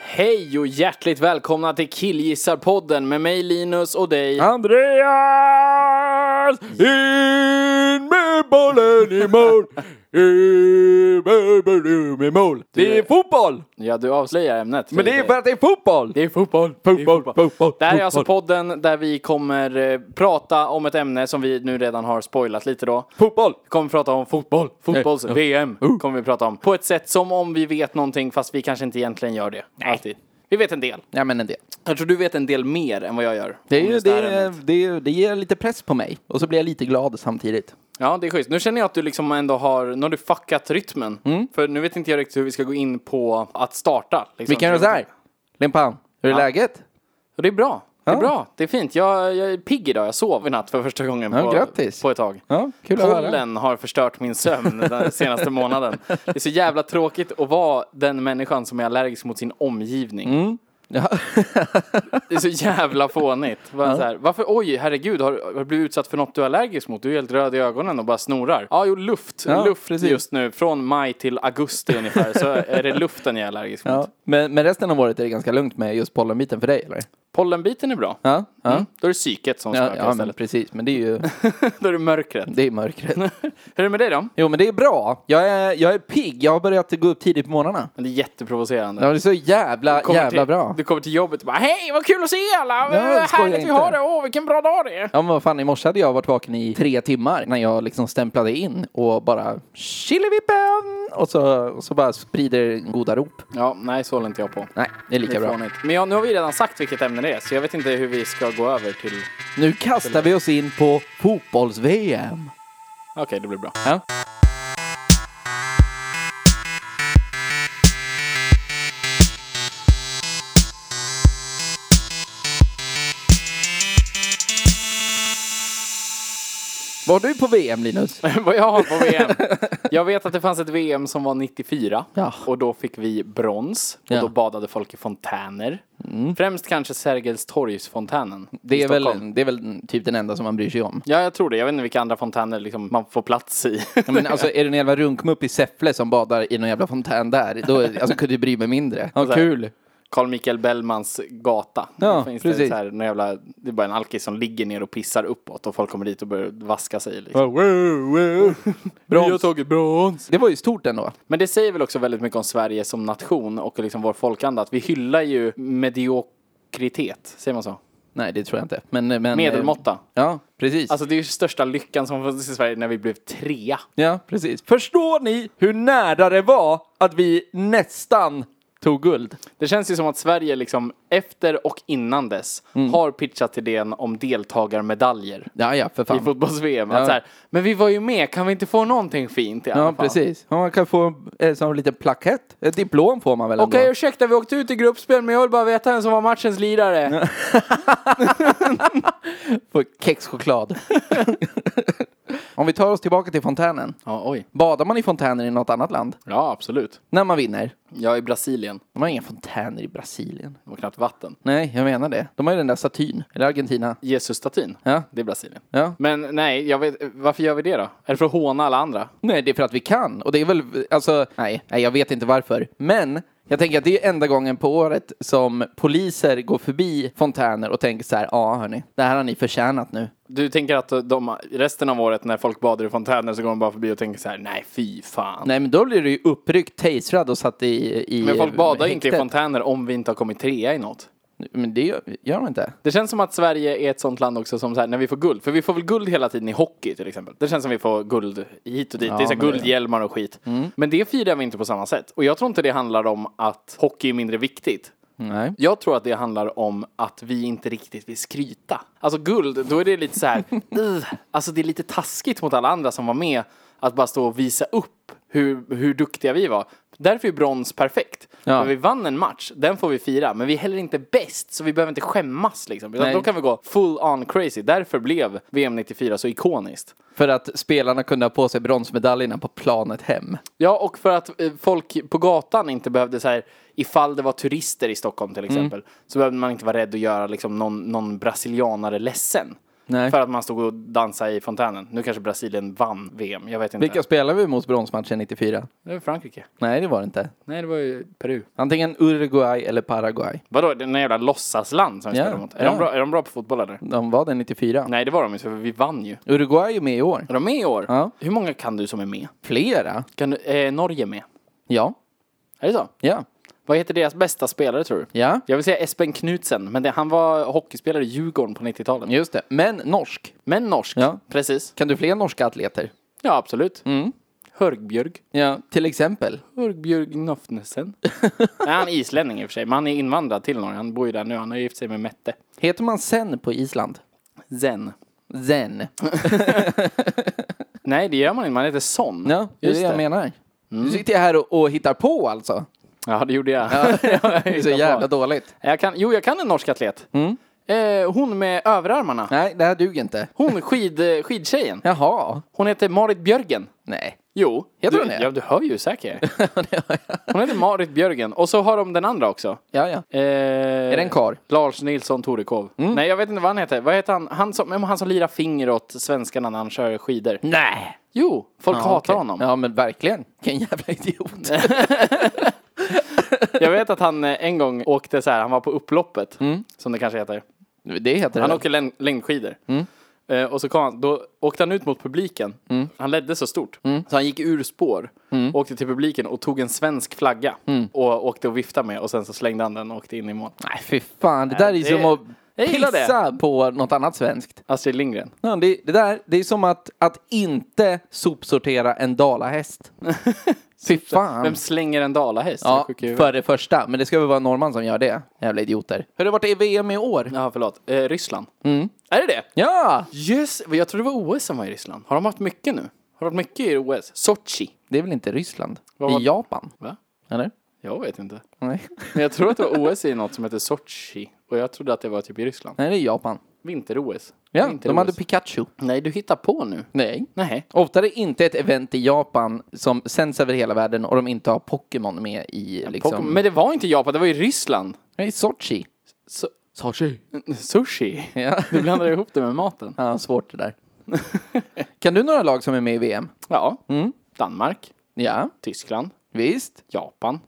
Hej och hjärtligt välkomna till Killgissarpodden med mig Linus och dig. Andreas! In med bollen i mål! In med bollen i mål! Det är fotboll! Ja, du avslöjar ämnet. Men det är för att det är fotboll! Det är fotboll. Fotboll, fotboll, Det här är alltså fotboll. podden där vi kommer eh, prata om ett ämne som vi nu redan har spoilat lite då. Fotboll! Vi kommer prata om fotboll, fotbolls-VM kommer vi prata om. På ett sätt som om vi vet någonting fast vi kanske inte egentligen gör det. Nej. Alltid. Vi vet en del. Ja men en del. Jag tror du vet en del mer än vad jag gör. Det, är om ju, just det, här är, ämnet. det, är, det ger lite press på mig och så blir jag lite glad samtidigt. Ja, det är schysst. Nu känner jag att du liksom ändå har, nu har du fuckat rytmen. Mm. För nu vet inte jag riktigt hur vi ska gå in på att starta. Liksom. Vi kan göra så här. Limpan, hur är läget? Och det är bra. Det är Ja. bra. Det är fint. Jag, jag är pigg idag. Jag sov i natt för första gången Ja, på, grattis. på ett tag. Ja, kul att höra. Pollen har förstört min sömn den senaste månaden. Det är så jävla tråkigt att vara den människan som är allergisk mot sin omgivning. Mm. Ja. Det är så jävla fånigt. Bara så här, varför, oj, herregud, har, har du blivit utsatt för något du är allergisk mot? Du är helt röd i ögonen och bara snorar. Ja, jo, luft. Ja, luft precis. just nu. Från maj till augusti ungefär så är det luften jag är allergisk mot. Ja. Men, men resten av året är det ganska lugnt med just pollenbiten för dig eller? Pollenbiten är bra. Ja, ja. Mm. Då är det psyket som ja, spökar ja men istället. precis. Men det är ju Då är det mörkret. det är mörkret. Hur är det med dig då? Jo men det är bra. Jag är, jag är pigg. Jag har börjat gå upp tidigt på morgnarna. Men Det är jätteprovocerande. Ja, Det är så jävla, Kommer jävla till, bra. Du kommer till jobbet och bara hej vad kul att se alla, Ja, vad skoja härligt vi inte. har det, åh vilken bra dag det är. Ja men vad fan, i morse hade jag varit vaken i tre timmar när jag liksom stämplade in och bara chilivippen! Och så, och så bara sprider goda rop. Ja, nej så håller inte jag på. Nej, det är Det lika är bra. fånigt. Men ja, nu har vi redan sagt vilket ämne det är så jag vet inte hur vi ska gå över till... Nu kastar vi oss in på fotbolls-VM. Okej, det blir bra. Ja. Var du på VM Linus? Vad jag har på VM? Jag vet att det fanns ett VM som var 94 Ja. och då fick vi brons och Ja. Mm. då badade folk i fontäner. Främst kanske Sergels torgsfontänen Det i är, väl, Stockholm. det är väl typ den enda som man bryr sig om. Ja, jag tror det. Jag vet inte vilka andra fontäner liksom man får plats i. Ja, men alltså är det en jävla runkmupp i Säffle som badar i någon jävla fontän där, då alltså, kunde jag bry mig mindre. Alltså, Ja, Så här. kul. Carl Michael Bellmans gata. Ja, Där finns det, precis. så här, någon jävla, det är bara en alkis som ligger ner och pissar uppåt och folk kommer dit och börjar vaska sig. Liksom. Brons. Det var ju stort ändå. Men det säger väl också väldigt mycket om Sverige som nation och liksom vår folkanda att vi hyllar ju mediokritet, säger man så? Nej, det tror jag inte. Men, men, Medelmåtta. eh, Ja, precis. Alltså det är ju största lyckan som fanns i Sverige när vi blev trea. ja, precis. Förstår ni hur nära det var att vi nästan Tog guld. Det känns ju som att Sverige liksom efter och innan dess Mm. har pitchat idén om deltagarmedaljer. Ja, ja, för I fan. fotbolls-VM. Ja. Att så här, men vi var ju med, kan vi inte få någonting fint i alla Ja, fall? precis. Ja, man kan få eh, som en liten plakett. Ett diplom får man väl ändå? Okej, ursäkta, vi åkte ut i gruppspel, men jag vill bara veta vem som var matchens lirare. Få kexchoklad. Om vi tar oss tillbaka till fontänen. Ja, oj. Badar man i fontäner i något annat land? Ja, absolut. När man vinner? Jag är i Brasilien. De har inga fontäner i Brasilien. Det var knappt vatten. Nej, jag menar det. De har ju den där statyn. Eller Argentina. Jesusstatyn. Ja. Det är Brasilien. Ja. Men nej, jag vet, varför gör vi det då? Är det för att håna alla andra? Nej, det är för att vi kan. Och det är väl, alltså, nej, nej jag vet inte varför. Men jag tänker att det är enda gången på året som poliser går förbi fontäner och tänker så här, ja hörni, det här har ni förtjänat nu. Du tänker att de, resten av året när folk badar i fontäner så går de bara förbi och tänker så här, nej fy fan. Nej, men då blir du ju uppryckt, taserad och satt i, i Men folk badar ju inte i häktet. fontäner om vi inte har kommit trea i något. Men det gör, gör de inte. Det känns som att Sverige är ett sånt land också som så här, när vi får guld, för vi får väl guld hela tiden i hockey till exempel. Det känns som vi får guld hit och dit, det är så här men det- guldhjälmar och skit. Men det firar vi inte på samma sätt. Och jag tror inte det handlar om att hockey är mindre viktigt. Nej. Jag tror att det handlar om att vi inte riktigt vill skryta. Alltså guld, då är det lite så här, "Ugh." alltså det är lite taskigt mot alla andra som var med att bara stå och visa upp hur, hur duktiga vi var. Därför är brons perfekt. Ja. För vi vann en match, den får vi fira. Men vi är heller inte bäst, så vi behöver inte skämmas liksom. Utan Nej. då kan vi gå full on crazy. Därför blev VM 94 så ikoniskt. För att spelarna kunde ha på sig bronsmedaljerna på planet hem. Ja, och för att eh, folk på gatan inte behövde så här, ifall det var turister i Stockholm till exempel, så behövde man inte vara rädd att göra liksom, någon, någon brasilianare ledsen. Nej. För att man stod och dansade i fontänen. Nu kanske Brasilien vann VM, jag vet inte. Vilka spelade vi mot bronsmatchen 94? Det var Frankrike. Nej, det var det inte. Nej, det var ju Peru. Antingen Uruguay eller Paraguay. Vadå, det är några jävla låtsasland som vi Ja, spelar mot. Är, ja. de bra, är de bra på fotboll eller? De var det 94. Nej, det var de inte, för vi vann ju. Uruguay är med i år. Är de med i år? Ja. Hur många kan du som är med? Flera? Kan du, är Norge med? Ja. Är det så? Ja. Vad heter deras bästa spelare tror du? Ja. Jag vill säga Espen Knutsen, men det, han var hockeyspelare i Djurgården på 90-talet. Just det. Men norsk. Men norsk. Ja. Precis. Kan du fler norska atleter? Ja, absolut. Mm. Hörgbjörg. Ja, till exempel. Hörgbjörg Nofnesen. Nej, han är islänning i och för sig, men han är invandrad till Norge. Han bor ju där nu. Han har gift sig med Mette. Heter man Sen på Island? Zen. Zen. Nej, det gör man inte. Man heter Son. Ja, det är det Mm. jag menar. Nu sitter jag här och, och hittar på alltså. Ja, det gjorde jag. Ja. Det är så jävla Mm. dåligt. jag kan, jo, jag kan en norsk atlet. Eh, hon med överarmarna. Nej, det här duger inte. Hon skid, eh, skidtjejen. Jaha. Hon heter Marit Björgen. Nej. Jo, Heter du, hon det? Ja, du hör ju säkert. hon heter Marit Björgen. Och så har de den andra också. Ja, ja. Eh, är det en karl? Lars Nilsson Torekov. Nej, jag vet inte vad han heter. Vad heter han? Han som, men han som lirar finger åt svenskarna när han kör skidor. Nej. Mm. Jo, folk hatar okej. honom. Ja, men verkligen. Vilken jävla idiot. Jag vet att han eh, en gång åkte så här, han var på upploppet, som det kanske heter. Det heter Han det. åker län- längdskidor. Mm. Eh, och så kom han, då åkte han ut mot publiken. Mm. Han ledde så stort. Så han gick ur spår, åkte till publiken och tog en svensk flagga. Mm. Och åkte och viftade med och sen så slängde han den och åkte in i mål. Nej, fy fan. Det där är ju det- som jag att gillar det. pissa på något annat svenskt. Astrid Lindgren. Ja, det, det där, det är som att, att inte sopsortera en dalahäst. Fy fan. Vem slänger en dalahäst? Det är Ja, sjukt i huvudet. för det första. Men det ska väl vara norrman som gör det. Jävla idioter. Hur har det varit i VM i år? Jaha, förlåt. Eh, Ryssland. Mm. Är det det? Ja! Yes. Jag tror det var OS som var i Ryssland. Har de haft mycket nu? Har de haft mycket i OS? Sochi? Det är väl inte Ryssland? Det är var- Japan. Va? Eller? Jag vet inte. Nej. Men jag tror att det var OS i något som heter Sochi. Och jag trodde att det var typ i Ryssland. Nej, det är Japan. Vinter-OS. Ja, Vinter de hade OS. Pikachu. Nej, du hittar på nu. Nej. Nej. Ofta är det inte ett event i Japan som sänds över hela världen och de inte har Pokémon med i liksom... Pokémon- Men det var inte Japan, det var i Ryssland. Nej, Sochi. So- Sochi. sushi. Ja. Du blandar ihop det med maten. Ja, svårt det där. kan du några lag som är med i VM? Ja. Danmark, Ja, Tyskland, visst. Japan.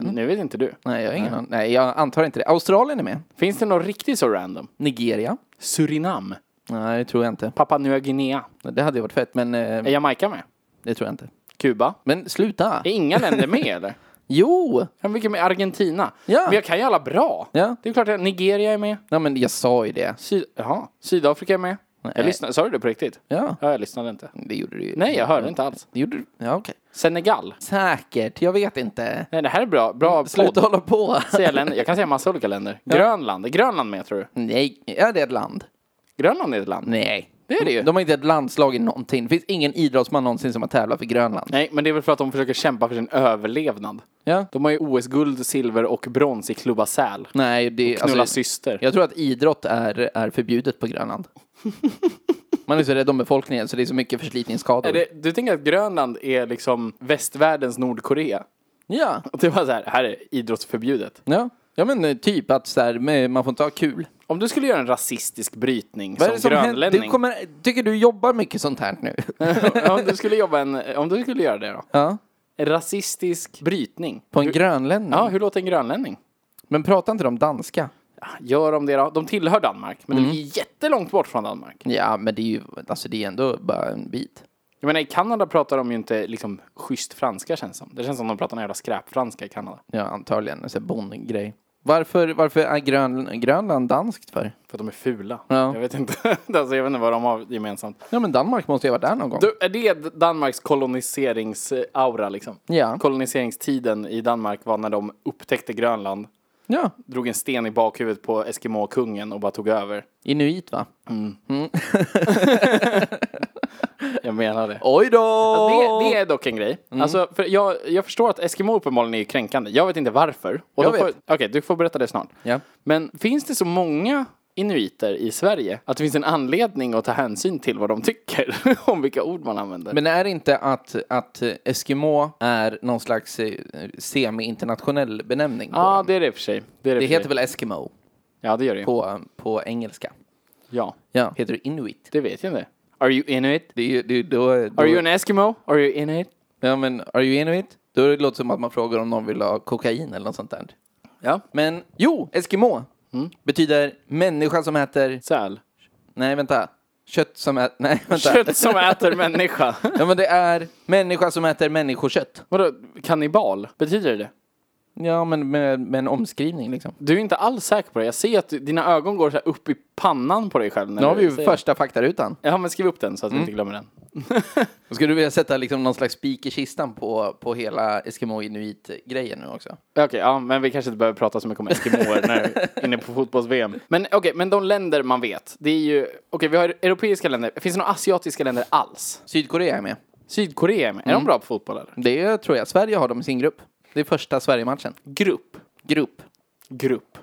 Nu vet inte du. Nej, jag har ingen aning. Nej, jag antar inte det. Australien är med. Finns det något riktigt så random? Nigeria? Surinam, Nej, det tror jag inte. Papua Nya Guinea. Det hade ju varit fett, men Är eh, Jamaica med? det tror jag inte. Kuba? Men sluta! Är inga länder med eller? Jo! Ja, Vilka med? Argentina? Ja. Men jag kan ju alla bra. Ja. Det är klart att Nigeria är med. Ja, men jag sa ju det. Syd... Jaha. Sydafrika är med. Jag lyssnade. Sa du det på riktigt? Ja, Ja, jag lyssnade inte. det gjorde du ju. Nej, jag hörde inte alls. Det gjorde du? Ja, okej. Senegal? Säkert. Jag vet inte. Nej, det här är bra. Bra Sluta podd. hålla på. Säga länder. Jag kan säga massa olika länder. Grönland. Är Grönland med tror du? Nej, är det ett land? Grönland är ett land. Nej. Det är det ju. De har inte ett landslag i någonting. Det finns ingen idrottsman någonsin som har tävlat för Grönland. Nej, men det är väl för att de försöker kämpa för sin överlevnad. Ja. De har ju OS-guld, silver och brons i klubba säl. Nej, det... Knulla alltså, syster. jag tror att idrott är, är förbjudet på Grönland. Man är så rädd om befolkningen så det är så mycket förslitningsskador. Är det, du tänker att Grönland är liksom västvärldens Nordkorea? Ja. Och det var så här, här är idrottsförbjudet. ja. Ja men eh, typ att så här, med- man får inte ha kul. Om du skulle göra en rasistisk brytning Vad är det som som händer? grönlänning. Du kommer, tycker du jobbar mycket sånt här nu? om, du skulle jobba en, om du skulle göra det då? Ja. En rasistisk brytning. På en Hur- grönlänning? Ja, hur låter en grönlänning? Men pratar inte de danska? Gör de det då? De tillhör Danmark, men de ligger jättelångt bort från Danmark. Ja, men det är ju alltså det är ändå bara en bit. Jag menar, i Kanada pratar de ju inte liksom schysst franska känns som. Det känns som de pratar en jävla skräpfranska i Kanada. Ja, antagligen. En sån här bondgrej. Varför, varför är Grön, Grönland danskt för? För att de är fula. Ja. Jag vet inte. alltså, jag vet inte vad de har gemensamt. Ja, men Danmark måste ju ha varit där någon gång. Du, är det Danmarks koloniseringsaura liksom? Ja. Koloniseringstiden i Danmark var när de upptäckte Grönland, Ja, drog en sten i bakhuvudet på Eskimo-kungen och bara tog över. inuit va? Jag menar det. Oj då! Det, det är dock dock en grej. Mm. Alltså, för jag, jag förstår att Eskimo uppenbarligen är kränkande. Jag vet inte varför. Och Jag då får- vet. Okej, du får berätta det snart. Ja. Men finns det så många inuiter i Sverige att det finns en anledning att ta hänsyn till vad de tycker om vilka ord man använder? Men är det inte att, att Eskimo är någon slags eh, semi-internationell benämning? på Ja, dem? det är det i och för sig. Det, är det, det i och för heter sig. väl Eskimo Ja, det gör det ju. på, på engelska? Ja, Ja. Heter det inuit? det vet jag inte. Are you inuit? Det är ju, det är ju då, då, Are you an Eskimo? Are you inuit? ja, men, are you inuit? Då låter det låter som att man frågar om någon vill ha kokain eller något sånt där. Ja. Men jo, Eskimo betyder människa som äter... Säl. Nej, vänta. Kött som äter... Nej, vänta. Kött som äter människa. Ja, men det är människa som äter människokött. Vadå, kannibal? Betyder det Ja, men med, med en omskrivning liksom. Du är inte alls säker på det. Jag ser att du- dina ögon går så här upp i pannan på dig själv. När Nu har vi du ju Mm. säger det. första faktarutan. Ja, men skriv upp den så att vi inte glömmer den. Skulle du vilja sätta liksom någon slags spik i kistan på, på hela Eskimo Inuit-grejen nu också? Okej, ja, men vi kanske inte behöver prata så mycket om Eskimoer när vi är inne på fotbolls-VM. Men okej, men de länder man vet, det är ju... Okej, vi har europeiska länder. Finns det några asiatiska länder alls? Sydkorea är med. Sydkorea är med. Mm. Är de bra på fotboll eller? Det tror jag. Sverige har dem i sin grupp. Det är första Sverige-matchen. Grupp. Grupp. Grupp.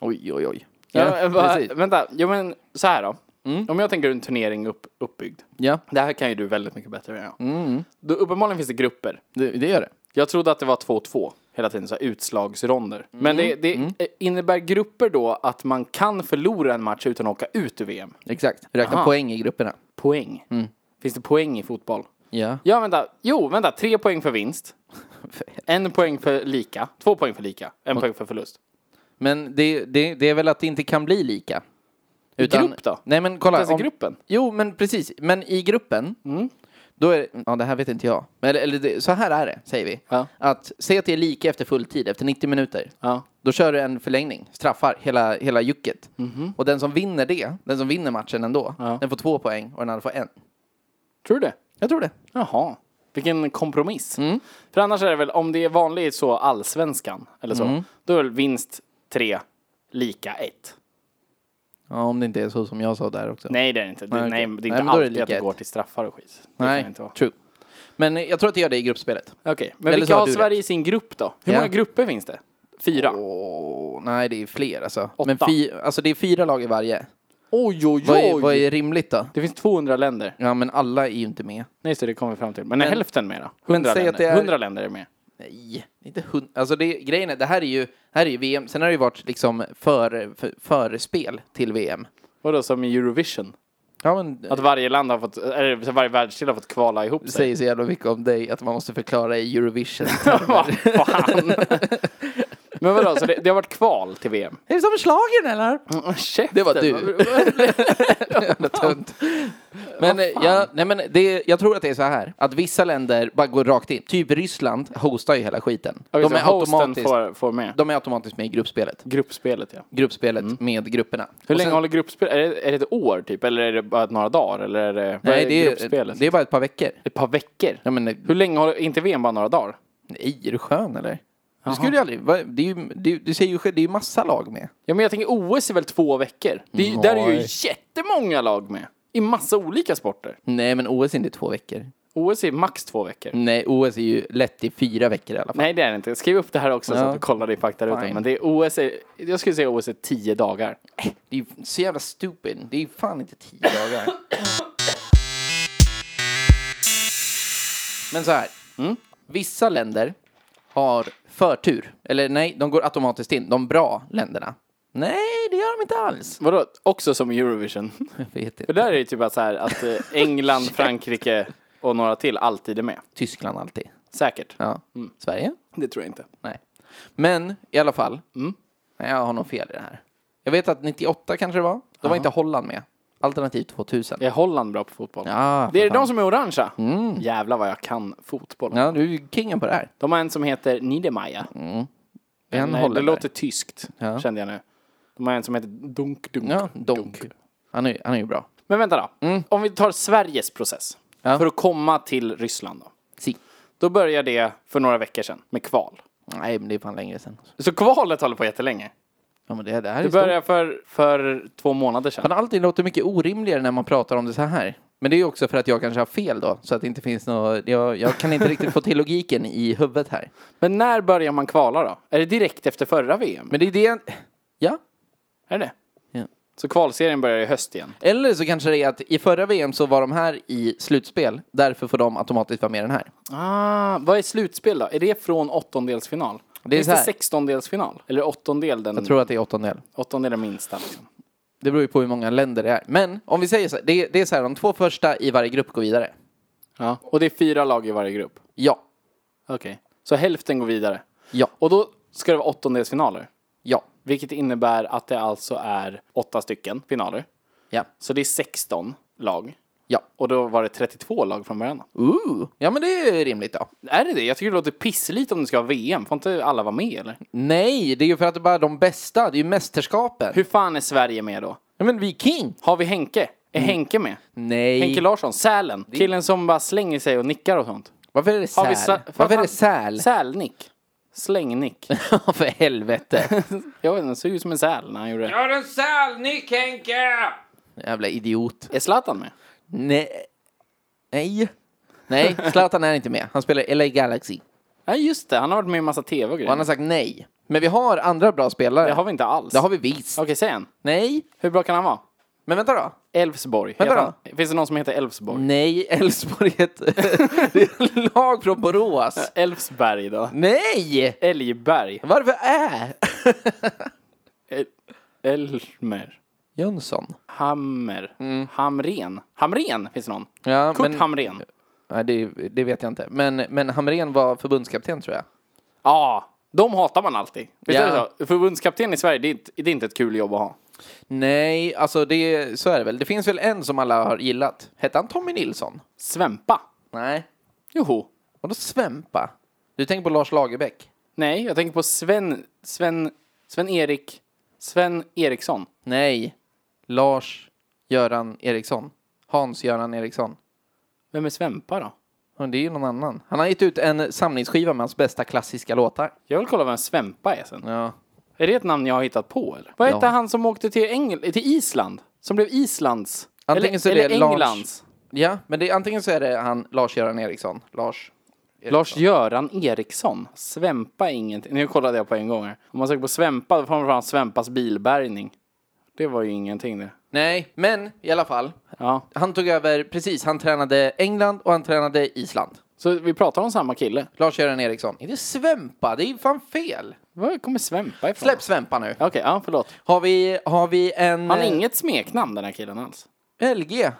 Oj, oj, oj. Ja, Ja, va, precis. Mm. vänta, jo men så här då. Om jag tänker en turnering upp, uppbyggd. Ja, Det här kan ju du väldigt mycket bättre än jag. Mm. Då, uppenbarligen finns det grupper. det, det gör det. Jag trodde att det var 2-2 hela tiden, så här utslagsronder. Men det, det eh, innebär grupper då att man kan förlora en match utan att åka ut ur VM? Exakt. Räkna Aha. poäng i grupperna. Poäng. Finns det poäng i fotboll? Ja. Ja, vänta. Jo, vänta. Tre poäng för vinst. En poäng för lika. Två poäng för lika. En poäng för förlust. Men det, det, det är väl att det inte kan bli lika. Utan- Grupp Mm. då? Nej, men kolla. Inte ens i gruppen? Jo, men precis. Men i gruppen, då är det... Ja, det här vet inte jag. Men, eller, eller det, så här är det, säger vi. Ja. Att säg att det är lika efter fulltid, efter 90 minuter. Ja. Då kör du en förlängning, straffar hela, hela jucket. Och den som vinner det, den som vinner matchen ändå, Ja. den får två poäng och den andra får en. Tror du det? Jag tror det. Jaha. Vilken kompromiss. För annars är det väl, om det är vanligt så allsvenskan eller så, då är väl vinst tre, lika ett. Ja, om det inte är så som jag sa där också. Nej, det är det inte. Det, Nej, nej, okej. det är Nej, inte men då är det alltid att lika det ett. går till straffar och skit. Det kan det Nej inte vara. true. Men eh, jag tror att det gör det i gruppspelet. Okej, men Eller så vilka har har du Sverige i sin grupp då? Hur Ja. många grupper finns det? Fyra? Åh, nej, det är fler alltså. Åtta. Men fy, alltså, det är fyra lag i varje. Oj, oj, Vad är, vad är rimligt då? Det finns 200 länder. Ja, men alla är ju inte med. Nej, så det kommer vi fram till. Men är hälften med då? 100 säg länder. att det är- 100 länder är med. Nej, det är inte hund... Alltså det, grejen är, det här är ju, här är ju VM. Sen har det ju varit liksom för, för, förspel till VM. Vadå, som i Eurovision? Ja, men Att varje land har fått, eller varje världsdel har fått kvala ihop det sig. säger så jävla mycket om dig att man måste förklara i Eurovision. Vad fan. Men vadå, så det, det har varit kval till VM? är det som slagen eller? Käften. Det var du. Jävla tunt. Men, eh, jag, nej, men det, jag tror att det är så här, att vissa länder bara går rakt in. Typ Ryssland hostar ju hela skiten. De De är, automatiskt, får, får med. de är automatiskt med i gruppspelet. Gruppspelet ja. Gruppspelet med grupperna. Mm. Hur Och länge sen- håller gruppspelet? Är det, är det ett år typ? Eller är det bara några dagar? Eller är det, vad Nej, är det är, gruppspelet? det är bara ett par veckor. Ett par veckor? Ja, men, Hur länge har inte VM bara några dagar? nej, är du skön eller? Du skulle ju aldrig, va- det är ju, du, du säger ju själv, det är ju massa lag med. Ja men jag tänker OS är väl två veckor? Det, är ju- Där är ju jättemånga lag med. I massa olika sporter. Nej, men OS är inte två veckor. OS är max två veckor. Nej, OS är ju lätt i fyra veckor i alla fall. Nej det är det inte. Skriv upp det här också så Ja. att du kollar i faktarutan. Fine. Men det är OS, är, jag skulle säga OS är tio dagar. Det är ju så jävla stupid. Det är ju fan inte tio dagar. Men så här. mm. Vissa länder har förtur. Eller nej, de går automatiskt in. De bra länderna. Nej, det gör de inte alls. Vadå? Också som i Eurovision? Jag vet För inte. där är det typ att, så här, att eh, England, Frankrike och några till alltid är med. Tyskland alltid. Säkert. Ja. Sverige? Det tror jag inte. Nej. Men i alla fall. Mm. Nej, jag har nog fel i det här. Jag vet att 98 kanske det var. Då var inte Holland med. Alternativt 2000. Är Holland bra på fotboll? Ja, det är för fan. Mm. de som är orangea. Jävlar vad jag kan fotboll. Ja, du är ju kingen på det här. De har en som heter Niedermayer. Mm. En Nej, det holländare. låter tyskt, Ja. kände jag nu. De har en som heter Dunk Dunk. Ja, donk. Han är, han är ju bra. Men vänta då. Om vi tar Sveriges process Ja. för att komma till Ryssland. Då. Si. då börjar det för några veckor sedan med kval. Nej, men det är fan längre sedan. Så kvalet håller på jättelänge. Ja, men det, det här Det är börjar... börjar för, för två månader sedan. Fan, allting låter mycket orimligare när man pratar om det så här. Men det är ju också för att jag kanske har fel då, så att det inte finns något... Jag, jag kan inte riktigt få till logiken i huvudet här. Men när börjar man kvala då? Är det direkt efter förra VM? Men det är det... Ja, Är det Ja. Så kvalserien börjar i höst igen? Eller så kanske det är att i förra VM så var de här i slutspel. Därför får de automatiskt vara med i den här. Ah, vad är slutspel då? Är det från åttondelsfinal? Det är Finns så det här. sextondelsfinal? Eller åttondel den, Jag tror att det är åttondel. åttondel den minsta? Liksom. Det beror ju på hur många länder det är. Men om vi säger så här, det, det är så här, de två första i varje grupp går vidare. Ja. Och det är fyra lag i varje grupp? Ja, Okej. Så hälften går vidare? ja, Och då ska det vara åttondelsfinaler? ja, Vilket innebär att det alltså är åtta stycken finaler. ja, Så det är 16 lag. ja. Och då var det 32 lag från början. Ooh. Ja, men det är rimligt då. Är det det? Jag tycker det låter pissligt om det ska vara VM. Får inte alla vara med eller? Nej, det är ju för att det bara är de bästa. Det är ju mästerskapen. Hur fan är Sverige med då? Ja, men vi är king! Har vi Henke? Är Mm. Henke med? Nej. Henke Larsson, Sälen. Killen som bara slänger sig och nickar och sånt. Varför är det Har vi säl? Varför är det säl? Sälnick. Slängnick. Ja, för helvete. Jag vet inte, han såg ut som en säl när han gjorde det. Jävla idiot. Är Zlatan med? Nej. Nej. Nej, Zlatan är inte med. Han spelar i LA Galaxy. Nej just det, han har varit med i en massa tv Och och han grejer. har sagt nej. Men vi har andra bra spelare. Det har vi inte alls. Det har vi visst. Okej, säg en. Nej. Hur bra kan han vara? Men vänta då. Elfsborg. Vänta Heter han- Finns det någon som heter Elfsborg? Nej, Elfsborg heter... det är ett lag från Borås. Elfsberg då? Nej! Älgberg? Varför är... El- Elmer? Jönsson. Hammer? Hamren? Hamren finns det någon? Mm. Ja, Kurt Hamren? Nej, det, det vet jag inte. Men, men Hamrén var förbundskapten tror jag. Ja, de hatar man alltid. Visst Ja. är det så? Förbundskapten i Sverige, det är, inte, det är inte ett kul jobb att ha. Nej, alltså det, så är det väl. Det finns väl en som alla har gillat. Hette han Tommy Nilsson? Svempa? Nej. Joho. Vadå Svempa? Du tänker på Lars Lagerbäck? Nej, jag tänker på Sven... Sven... Sven-Erik... Sven Eriksson. Nej. Lars-Göran Eriksson. Hans-Göran Eriksson. Vem är Svempa då? Ja, Det är ju någon annan. Han har gett ut en samlingsskiva med hans bästa klassiska låtar. Jag vill kolla vem Svempa är sen. Ja. Är det ett namn jag har hittat på eller? Vad hette Ja. han som åkte till, Engl- till Island? Som blev Islands? Antingen eller så är eller det Lars- Englands? Ja, men det, antingen så är det han Lars-Göran Eriksson. Lars. Lars-Göran Eriksson. Svempa är ingenting. Nu kollade jag på en gång här. Om man söker på Svempa, då får man fram Svempas bilbärgning. Det var ju ingenting det. Nej, men i alla fall. Ja. Han tog över, precis, han tränade England och han tränade Island. Så vi pratar om samma kille. Lars-Göran Eriksson. Inte Svempa, det är ju fan fel. Var kommer Svempa ifrån? Släpp Svempa nu. Okej, ja förlåt. Har vi, har vi en... eh, Han har inget smeknamn den här killen alls. LG.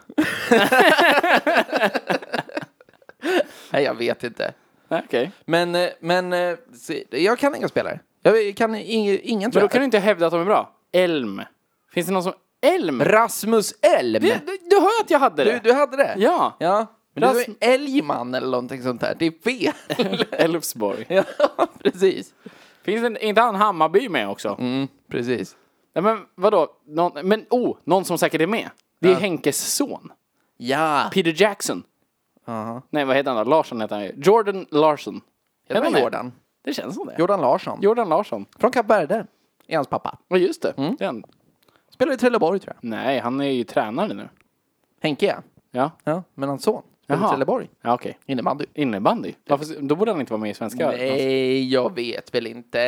Nej, jag vet inte. Nej, Okej. Men, eh, men eh, se, jag kan inga spelare. Jag kan ing- ingen Men tror då jag. kan du inte hävda att de är bra. Elm. Finns det någon som... Elm? Rasmus Elm! Du, du, du hör att jag hade det. Du, du hade det? Ja. Ja. Men det Rasm- var Elgman eller någonting sånt där. Det är fel. Elfsborg. ja, precis. Finns det inte han Hammarby med också? Mm, precis. Nej, men vadå? Någon, men oh, någon som säkert är med. Det är Henkes son. Ja. Peter Jackson. Nej, vad heter han då? Larsson heter han ju. Jordan Larsson. Det Heter var han det? Jordan. Det känns som det. Jordan Larsson. Jordan Larsson. Från Kap Verde. Är hans pappa. Ja, just det. Mm. det är han. Spelar i Trelleborg tror jag. Nej, han är ju tränare nu. Henke ja. Ja, Ja, men hans son. Spelar i Jaha. Trelleborg. ja okej. Innebandy. Innebandy? Varför, då borde han inte vara med i svenska. Nej, jag vet väl inte.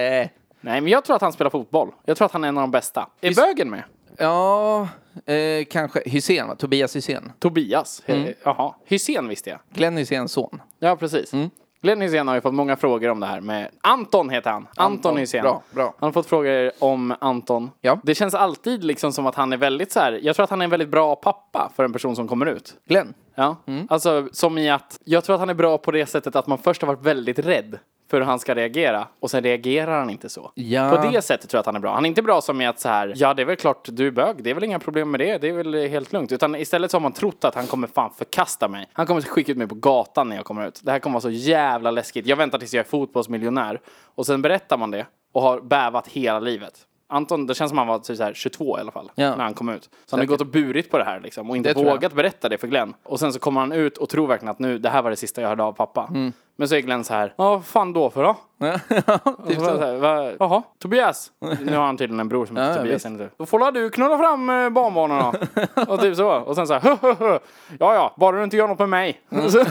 Nej, men jag tror att han spelar fotboll. Jag tror att han är en av de bästa. Är Bögen med? Ja, eh, kanske. Hysén va? Tobias Hysén. Tobias. Mm. Jaha. Hysén visste jag. Glenn Hyséns son. Ja, precis. Glenn Hysén har ju fått många frågor om det här med... Anton heter han. Anton, Hysén. bra, bra. Han har fått frågor om Anton. Ja. Det känns alltid liksom som att han är väldigt så här... Jag tror att han är en väldigt bra pappa för en person som kommer ut. Glenn. Ja. Mm. Alltså, som i att... Jag tror att han är bra på det sättet att man först har varit väldigt rädd för hur han ska reagera och sen reagerar han inte så. Ja. På det sättet tror jag att han är bra. Han är inte bra som i att så här, ja det är väl klart du är bög, det är väl inga problem med det, det är väl helt lugnt. Utan istället så har man trott att han kommer fan förkasta mig. Han kommer skicka ut mig på gatan när jag kommer ut. Det här kommer vara så jävla läskigt. Jag väntar tills jag är fotbollsmiljonär. Och sen berättar man det och har bävat hela livet. Anton, det känns som han var typ så här 22 i alla fall, Ja. när han kom ut. Så han har gått och burit på det här liksom, och inte Det tror jag. vågat berätta det för Glenn. Och sen så kommer han ut och tror verkligen att nu, det här var det sista jag hörde av pappa. Mm. Men så är Glenn så här, ja vad fan då för då? Och typ så var det så här, "Va- Jaha, Tobias. Nu har han tydligen en bror som heter Ja, Tobias. visst. enligt det. Då får la du knulla fram eh, barnbarnen då. Och typ så. Och sen så här, "Hö, hö, hö. ja ja, bara du inte gör något med mig. Mm. Så,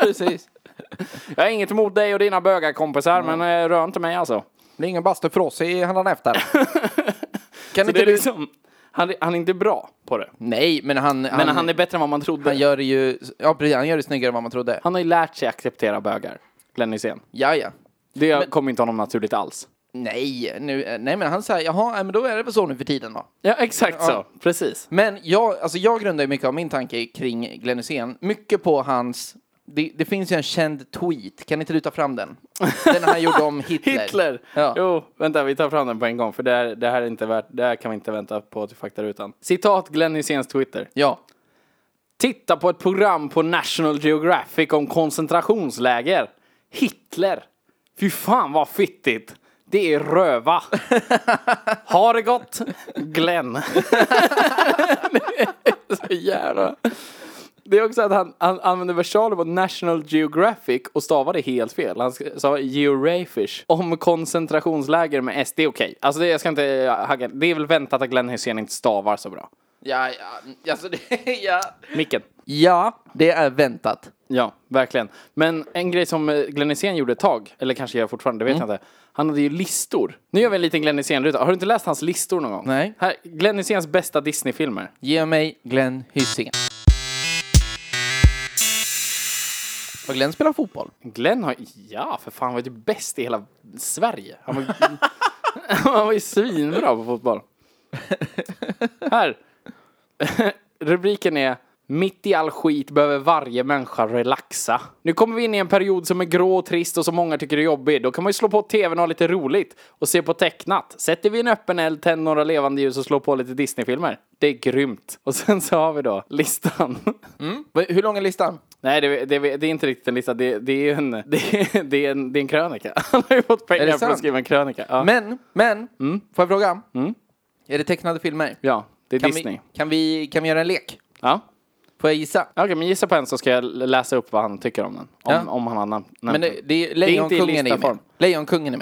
Precis. jag har inget emot dig och dina bögarkompisar, Mm. men eh, rör inte mig alltså. Det är ingen bastu för oss i handen efter. Kan Så inte det är du... liksom, han, han är inte bra på det. Nej, men han... Men han, är bättre än vad man trodde. han Han, gör det ju... Ja, precis. Han gör det snyggare än vad man trodde. har ju lärt sig acceptera bögar, Glenn Hysén. Ja, ja. Det kommer inte honom naturligt alls. Nej, nu, nej, men han säger jaha, nej, men då är det väl så nu för tiden då. Ja, exakt så. Precis. Men jag, alltså jag grundar ju mycket av min tanke kring Glenn Hysén, mycket på hans... Det, det finns ju en känd tweet, kan inte du ta fram den? Den han gjorde om Hitler. Hitler! Ja. Jo, vänta, vi tar fram den på en gång, för det här, det här, är inte värt, det här kan vi inte vänta på till faktarutan. Citat Glenn Hyséns Twitter. Ja. Titta på ett program på National Geographic om koncentrationsläger. Hitler! Fy fan vad fittigt! Det är röva! Ha det gott! Glenn! Det är så jävla... Det är också att han, han använder versaler på National Geographic och stavar det helt fel. Han sk- sa geografish. Om koncentrationsläger med S, det är okej. Alltså det, jag ska inte eh, hacka. Det är väl väntat att Glenn Hysén inte stavar så bra. Ja, ja, alltså det, ja. Micken. ja, det är väntat. Ja, verkligen. Men en grej som eh, Glenn Hysén gjorde ett tag, eller kanske gör fortfarande, det vet jag inte. Han hade ju listor. Nu gör vi en liten Glenn Hysén-ruta. Har du inte läst hans listor någon gång? Nej. Här, Glenn Hyséns bästa Disney-filmer. Ge mig Glenn Hysén. Och Glenn spelar fotboll. Glenn har, ja för fan, han var ju typ bäst i hela Sverige. Han var, han var ju svinbra på fotboll. Här. Rubriken är Mitt i all skit behöver varje människa relaxa. Nu kommer vi in i en period som är grå och trist och som många tycker är jobbig. Då kan man ju slå på tvn och ha lite roligt och se på tecknat. Sätter vi en öppen eld, tänd några levande ljus och slår på lite Disneyfilmer. Det är grymt. Och sen så har vi då listan. Va- Hur lång är listan? Nej, det, det, det är inte riktigt en lista. Det, det, är, en, det, är, det, är, en, det är en krönika. Han har ju fått pengar för sant? att skriva en krönika. Ja, Men, men, Mm. får jag fråga? Är det tecknade filmer? ja det är Kan Disney. vi, kan, vi, kan vi göra en lek? Ja. Får jag gissa? Okej, men gissa på en så ska jag läsa upp vad han tycker om den. Om, Ja. om han har nam- nämnt Men det, den. det är inte i Lejonkungen är, ju med. listaform. Lejonkungen är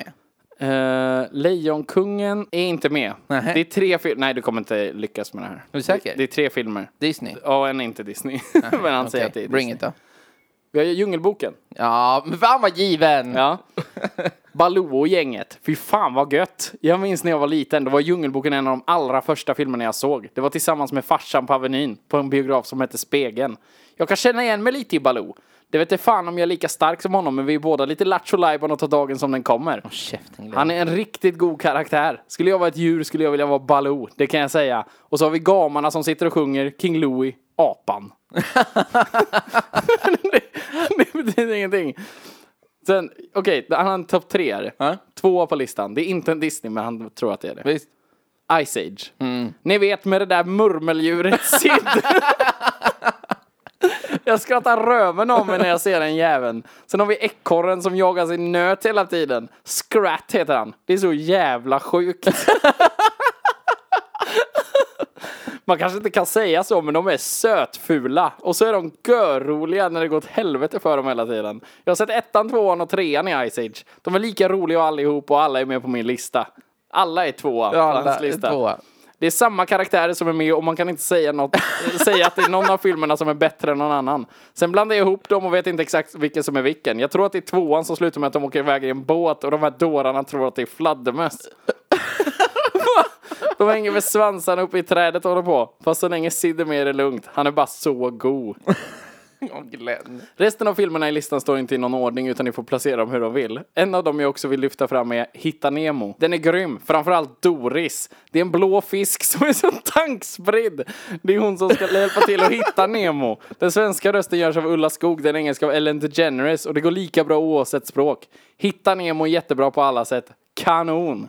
med. Eh, Lejonkungen är inte med. Nähä. Det är tre filmer. Nej, du kommer inte lyckas med det här. Är du säker? Det, det är tre filmer. Disney. Ja, en är inte Disney. men han Okej, säger att det är Bring Disney. it då. Vi har ju Djungelboken. Ja, men fan vad given! Ja. Baloo och gänget. Fy fan vad gött. Jag minns när jag var liten. Då var Djungelboken en av de allra första filmerna jag såg. Det var tillsammans med farsan på Avenyn på en biograf som hette Spegeln. Jag kan känna igen mig lite i Baloo. Det vet inte fan om jag är lika stark som honom, men vi är båda lite lattjo lajban och tar dagen som den kommer. Käften, Han är en riktigt god karaktär. Skulle jag vara ett djur skulle jag vilja vara Baloo, det kan jag säga. Och så har vi gamarna som sitter och sjunger King Louie, apan. det, det betyder ingenting. Sen, okej, han har en topp tre här. Ja. Tvåa på listan. Det är inte en Disney, men han tror att det är det. Visst. Ice Age. Ni vet med det där murmeldjuret Sid. jag skrattar röven av mig när jag ser den jäveln. Sen har vi ekorren som jagar sin nöt hela tiden. Scrat heter han. Det är så jävla sjukt. Man kanske inte kan säga så, men de är sötfula. Och så är de görroliga när det går åt helvete för dem hela tiden. Jag har sett ettan, tvåan och trean i Ice Age. De är lika roliga allihop och alla är med på min lista. Alla är tvåa på hans lista. Tvåa. Det är samma karaktärer som är med och man kan inte säga, något, eh, säga att det är någon av filmerna som är bättre än någon annan. Sen blandar jag ihop dem och vet inte exakt vilken som är vilken. Jag tror att det är tvåan som slutar med att de åker iväg i en båt och de här dårarna tror att det är fladdermöss. De hänger med svansarna uppe i trädet och håller på. Fast så länge Sid är med är det lugnt. Han är bara så god. Åh, Glenn. Resten av filmerna i listan står inte i någon ordning utan ni får placera dem hur de vill. En av dem jag också vill lyfta fram är Hitta Nemo. Den är grym, framförallt Doris. Det är en blå fisk som är så tankspridd. Det är hon som ska hjälpa till att hitta Nemo. Den svenska rösten görs av Ulla Skog, den engelska av Ellen DeGeneres och det går lika bra oavsett språk. Hitta Nemo är jättebra på alla sätt. Kanon!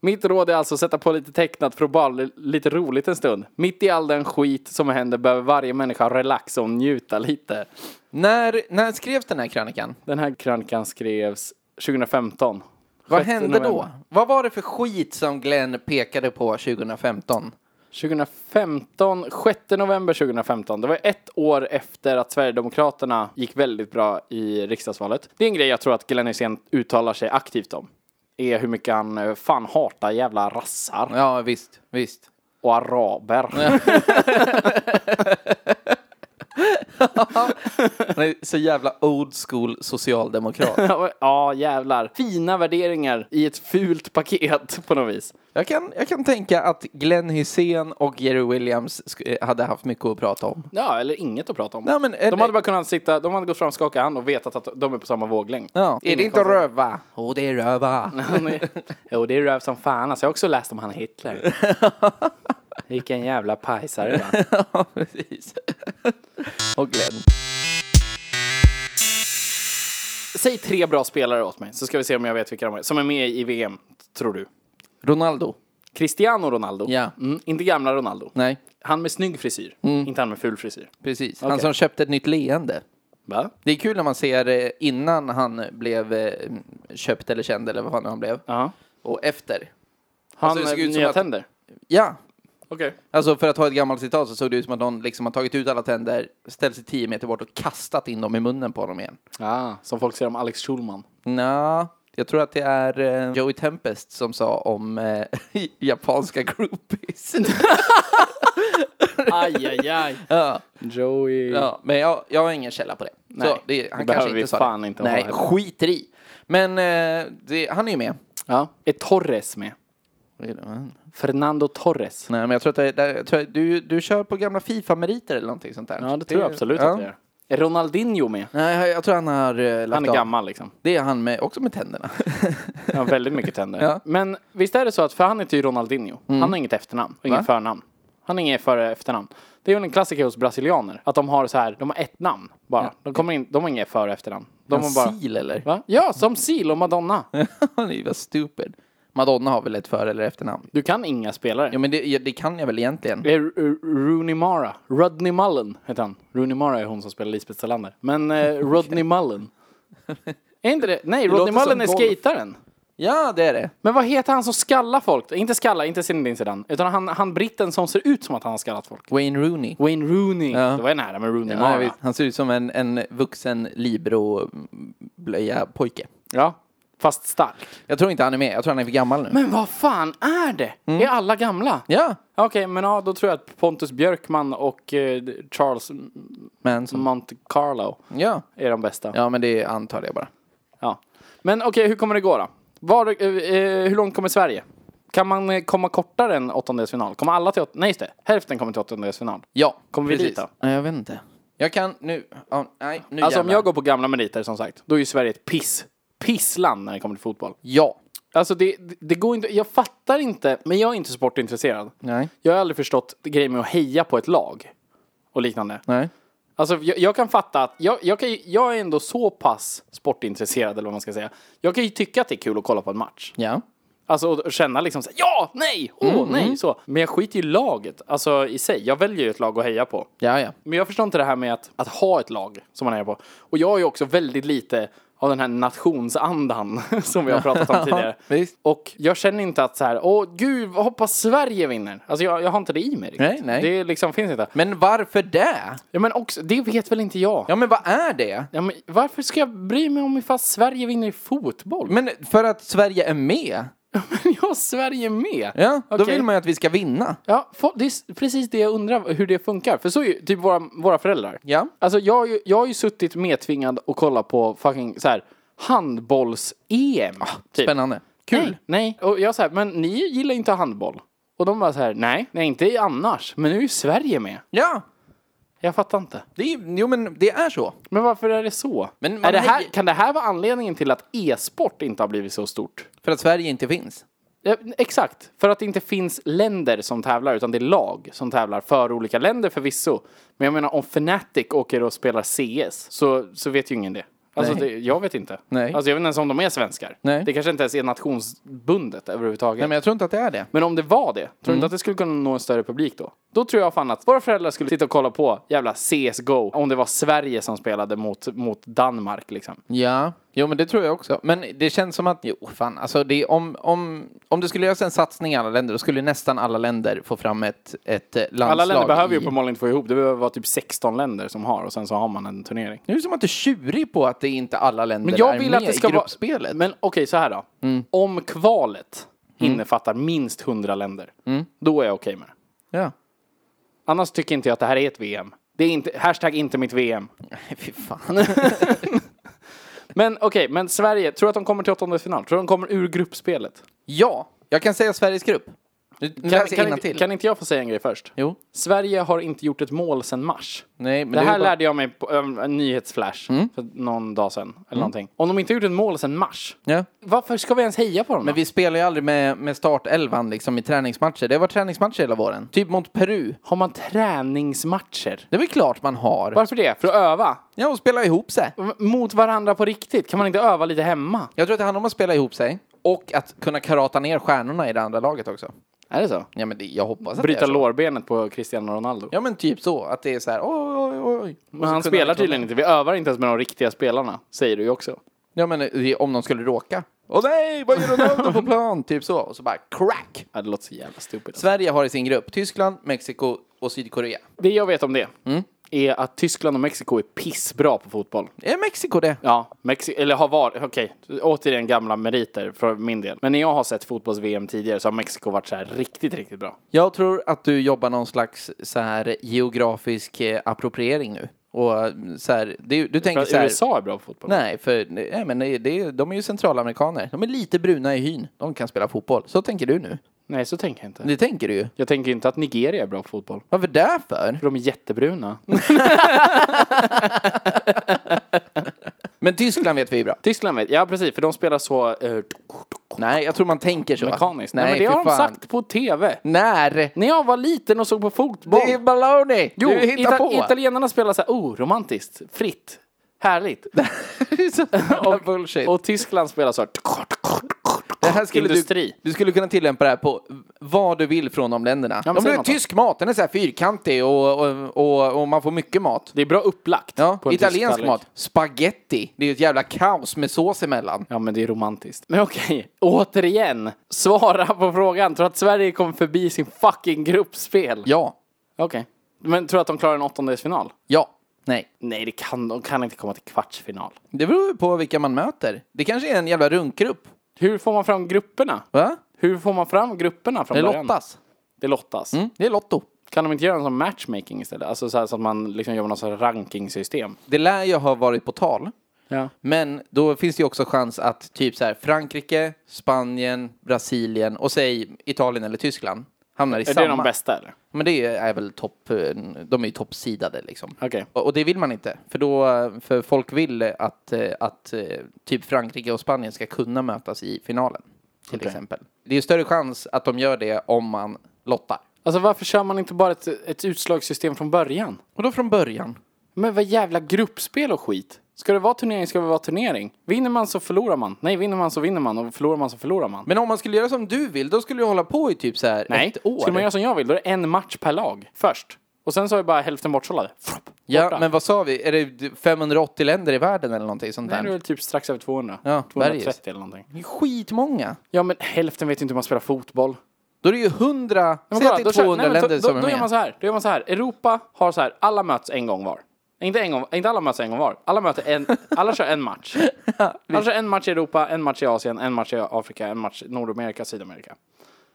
Mitt råd är alltså att sätta på lite tecknat för att bara li- lite roligt en stund. Mitt i all den skit som händer behöver varje människa relaxa och njuta lite. När, när skrevs den här krönikan? Den här krönikan skrevs 2015. Vad Sjätte hände då? november. Vad var det för skit som Glenn pekade på 2015? 2015, 6 november 2015. Det var ett år efter att Sverigedemokraterna gick väldigt bra i riksdagsvalet. Det är en grej jag tror att Glenn Hysén uttalar sig aktivt om. Är hur mycket han eh, fan hatar jävla rassar Ja, visst, visst. och araber. Han är så jävla old school socialdemokrat. ja, jävlar. Fina värderingar i ett fult paket på något vis. Jag kan, jag kan tänka att Glenn Hysén och Jerry Williams sk- eh, hade haft mycket att prata om. Ja, eller inget att prata om. Nej, men eh, är de det- hade bara kunnat sitta, de hade gått fram, skaka hand och vetat att de är på samma våglängd. Ja. Är det Inget inte att konstigt. röva? Jo, det är röva. Han är- Jo, det är röv som fan. Alltså, jag har också läst om han Hitler. Vilken jävla pajsare. va? Ja, precis. Och Glenn. Säg tre bra spelare åt mig, så ska vi se om jag vet vilka de är. Som är med i VM, tror du. Ronaldo? Cristiano Ronaldo. Ja. Mm, inte gamla Ronaldo. Nej, Mm. Han med snygg frisyr. Inte han med ful frisyr. precis. Han Okej. som köpte ett nytt leende. Va? Det är kul när man ser eh, innan han blev eh, köpt eller känd eller vad fan han blev. Ja. Och efter. Han Alltså, det såg med ut som nya att- tänder. Ja, Okej. Alltså för att ta ett gammalt citat så såg det ut som att någon liksom har tagit ut alla tänder, ställt sig 10 meter bort och kastat in dem i munnen på honom igen. Ah, som folk säger om Alex Schulman. Nja, jag tror att det är eh, Joey Tempest som sa om eh, japanska groupies. Aj, aj, aj. ja, Joey. ja, men jag, jag har ingen källa på det. Nej, så det, det han behöver kanske vi inte sa fan det. inte ha Nej, heller. skiter i. Men eh, det, han är ju med. Ja. Är Torres med? Fernando Torres. Nej, men jag tror att det, det, jag tror att du, du kör på gamla Fifa-meriter eller någonting sånt där. Ja, det tror jag absolut ja. att det är. Är Ronaldinho med? Nej, jag tror han har eh, lagt Han är av. gammal liksom. Det är han med, också med tänderna. Han har väldigt mycket tänder. Ja. Mm. Men visst är det så att, för han heter ju Ronaldinho. Han har inget efternamn och inget förnamn. Han har inget före efternamn. Det är väl en klassiker hos brasilianer. Att de har så här, de har ett namn bara. De, kommer in, de har inget före och efternamn. De har bara... Sil eller? Va? Ja, som Seal och Madonna. Han är ju bara stupid. Madonna har väl ett för eller efternamn? Du kan inga spelare. Ja, men det, ja, det kan jag väl egentligen. Det är Ru- Ru- Rooney Mara. Rodney Mullen heter han. Rooney Mara är hon som spelar Lisbeth Salander. Men eh, Rodney Mullen. Är inte det? Nej, Rodney låter som Mullen är golf. skataren. Ja, det är det. Men vad heter han som skallar folk? Inte skallar, inte Zinedine Zidane. Utan han, han britten som ser ut som att han har skallat folk. Wayne Rooney. Wayne Rooney. Ja. Det var ju nära med Rooney Ja, Mara. jag vet. han ser ut som en, en vuxen Libro-blöja-pojke. Ja, fast stark. Jag tror inte han är med. Jag tror han är för gammal nu. Men vad fan är det? Är alla gamla? Mm. Ja, Okej, men ja, då tror jag att Pontus Björkman och eh, Charles men som... Monte Carlo Ja. är de bästa. Ja. Ja, men det antar jag bara. Men okej, hur kommer det gå då? Var, eh, eh, hur långt kommer Sverige? Kan man eh, komma kortare än åttondelsfinal? Kommer alla till åttondelsfinal? Nej, just det. Hälften kommer till åttondelsfinal. Ja. Kommer vi precis. dit då? Nej, jag vet inte. Jag kan nu... ja, nej, nu Alltså om jävlar. jag går på gamla meriter som sagt, då är ju Sverige ett piss. Pissland när det kommer till fotboll. Ja. Alltså det, det, det går inte, jag fattar inte, men jag är inte sportintresserad. Nej. Jag har aldrig förstått grejen med att heja på ett lag och liknande. Nej. Alltså jag, jag kan fatta att, jag, jag, kan, ju- jag är ändå så pass sportintresserad eller vad man ska säga. Jag kan ju tycka att det är kul att kolla på en match. Ja. Alltså och känna liksom så här, ja, nej, åh, nej, så. Men jag skiter i laget, alltså i sig. Jag väljer ju ett lag att heja på. Ja, ja. Men jag förstår inte det här med att, att ha ett lag som man är på. Och jag är ju också väldigt lite av den här nationsandan som vi har pratat om tidigare. visst. Och jag känner inte att så här, åh gud, vad hoppas Sverige vinner. Alltså jag, jag har inte det i mig riktigt. Nej, nej. Det liksom finns inte. Men varför det? Ja, men också, det vet väl inte jag. Ja. Ja, men vad är det? men varför ska jag bry mig om ifall Sverige vinner i fotboll? Men för att Sverige är med. Men jag har Sverige med. Ja, då Okej. vill man ju att vi ska vinna. Ja, fo- det är s- precis det jag undrar hur det funkar. För så är ju typ våra, våra föräldrar. Ja. Alltså jag, har ju- jag har ju suttit medtvingad och kollat på fucking så här handbolls-EM. typ. Ah, Spännande. Kul. Nej, nej. och jag så här, men ni gillar ju inte handboll. Och de bara så här, nej, nej inte annars. Men nu är ju Sverige med. Ja, Jag fattar inte. det är, jo men det är så. Men varför är det så? Men är man det här, hejar- kan det här vara anledningen till att e-sport inte har blivit så stort? För att Sverige inte finns. Ja, exakt, för att det inte finns länder som tävlar utan det är lag som tävlar för olika länder förvisso. Men jag menar om Fnatic åker och spelar CS så, så vet ju ingen det. Alltså Nej. det, jag vet inte. Nej. Alltså jag vet inte ens om de är svenskar. Nej. Det kanske inte ens är nationsbundet överhuvudtaget. Nej men jag Mm. tror inte att det är det. Men om det var det, tror du inte att det skulle kunna nå en större publik då? Då tror jag fan att våra föräldrar skulle sitta och kolla på jävla CSGO om det var Sverige som spelade mot, mot Danmark liksom. Ja, Jo, men det tror jag också. Men det känns som att, jo, fan, alltså det, om, om, om det skulle göras en satsning i alla länder, då skulle nästan alla länder få fram ett, ett eh, landslag. Alla länder behöver ju i- uppenbarligen inte få ihop. Det behöver vara typ 16 länder som har och sen så har man en turnering. Nu är det som att du är tjurig på att det inte alla länder Men jag är vill med att det ska i vara... gruppspelet. Mm. Men okej, så här då. Om kvalet innefattar minst 100 länder, Mm. då är jag okej med det. Ja. Annars tycker inte jag att det här är ett VM. Det är inte, hashtag inte mitt VM. Nej, Fy fan. Men okej, men Sverige, tror du att de kommer till åttondelsfinal? Tror du de kommer ur gruppspelet? ja, jag kan säga Sveriges grupp. Nu nu läser jag kan, inte- innantill. kan inte jag få säga en grej först? Jo. Sverige har inte gjort ett mål sedan mars. Nej, men det är här ju bara- Mm. lärde jag mig på en, en nyhetsflash för någon dag sedan. Eller någonting. Om de inte har gjort ett mål sedan mars, Ja. varför ska vi ens heja på dem? Men vi spelar ju aldrig med, med startelvan liksom i träningsmatcher. Det har varit träningsmatcher hela våren. Typ mot Peru. Har man träningsmatcher? Det är väl klart man har. Varför det? För att öva? Ja, och spela ihop sig. Mot varandra på riktigt? Kan man inte öva lite hemma? Jag tror att det handlar om att spela ihop sig och att kunna karata ner stjärnorna i det andra laget också. Är det så? Ja, men det, jag hoppas att det Bryta är så. lårbenet på Cristiano Ronaldo? Ja, men typ så. Att det är så här, oj, oj, oj. Och så Men kunna han spelar liksom- tydligen inte. Vi övar inte ens med de riktiga spelarna, säger du ju också. Ja, men det är om de skulle råka. Åh nej, vad gör Ronaldo på plan? Typ så. Och så bara crack! Ja, det låter så jävla stupid. alltså. Sverige har i sin grupp Tyskland, Mexiko och Sydkorea. Det jag vet om det Mm. är att Tyskland och Mexiko är pissbra på fotboll. Är Mexiko det? Ja, Mexi eller har varit, okej, återigen gamla meriter för min del. Men när jag har sett fotbolls-VM tidigare så har Mexiko varit så här riktigt, riktigt bra. Jag tror att du jobbar någon slags så här geografisk eh, appropriering nu. Och eh, så här, det, du För tänker att så här... USA är bra på fotboll. Nej, för nej, men det, det, de är ju centralamerikaner. De är lite bruna i hyn. De kan spela fotboll. Så tänker du nu. Nej, så tänker jag inte. Det tänker du ju. Jag tänker inte att Nigeria är bra på fotboll. Varför därför? För de är jättebruna. Men Tyskland vet vi är bra. Tyskland vet, ja precis, för de spelar så eh, Nej, jag tror man tänker så. mekaniskt. Nej, Nej, men det fy har de fan. sagt på TV. När? När jag var liten och såg på fotboll. Det är baloney! Jo, du hittar ita- på. italienarna spelar så här, oh, romantiskt, fritt, härligt. Det är så jävla bullshit. Och Tyskland spelar så här, det här skulle industri. du, du skulle kunna tillämpa det här på vad du vill från de länderna. men de säg har något då. tysk mat, den är så här fyrkantig och, och, och, och man får mycket mat. Det är bra upplagt. Ja, på en tysk italiensk tallrik. mat. Spaghetti. Det är ju ett jävla kaos med sås emellan. Ja, men det är romantiskt. Men okej, återigen. Svara på frågan. Tror du att Sverige kommer förbi sin fucking gruppspel? Ja. Okej. Men tror du att de klarar en åttondelsfinal? Ja. Nej. Nej, det kan, de kan inte komma till kvartsfinal. Det beror ju på vilka man möter. Det kanske är en jävla runkgrupp. Hur får man fram grupperna? Va? Hur får man fram grupperna från Det början? lottas. Det lottas. Mm, det är lotto. Kan de inte göra en sån matchmaking istället? Alltså så, här, så att man liksom gör något sån här rankingsystem. Det lär ju ha varit på tal. Ja. Men då finns det ju också chans att typ så här Frankrike, Spanien, Brasilien och säg Italien eller Tyskland hamnar i Är samma. det de bästa eller? Men det är väl topp, eh, de är ju toppsidade liksom. Okej. Och och det vill man inte, för, då, eh, för folk vill eh, att, eh, att eh, typ Frankrike och Spanien ska kunna mötas i finalen. Till exempel. Det är ju större chans att de gör det om man lottar. Alltså varför kör man inte bara ett, ett utslagssystem från början? Och då från början. Men vad jävla gruppspel och skit. Ska det vara turnering ska det vara turnering. Vinner man så förlorar man. Nej, vinner man så vinner man och förlorar man så förlorar man. Men om man skulle göra som du vill, då skulle du hålla på i typ så här Nej, ett år. skulle man göra som jag vill då är det en match per lag först. Och sen så är bara hälften bortsållade. Fropp, ja, borta. men vad sa vi? Är det 580 länder i världen eller någonting sånt Nej, där? det är väl typ strax över 200. Ja, 230 bergis. eller någonting. Det är skitmånga. Ja, men hälften vet ju inte hur man spelar fotboll. Då är det ju 100, Men säg kolla, att det då är kör- 200 nej, men länder då, som då, är då gör man med. så här. Då gör man så här. Europa har så här. Alla möts en gång var. Inte, en gång, inte alla möts en gång var. Alla, möter en, alla kör en match. Alla kör en match i Europa, en match i Asien, en match i Afrika, en match i Nordamerika, Sydamerika.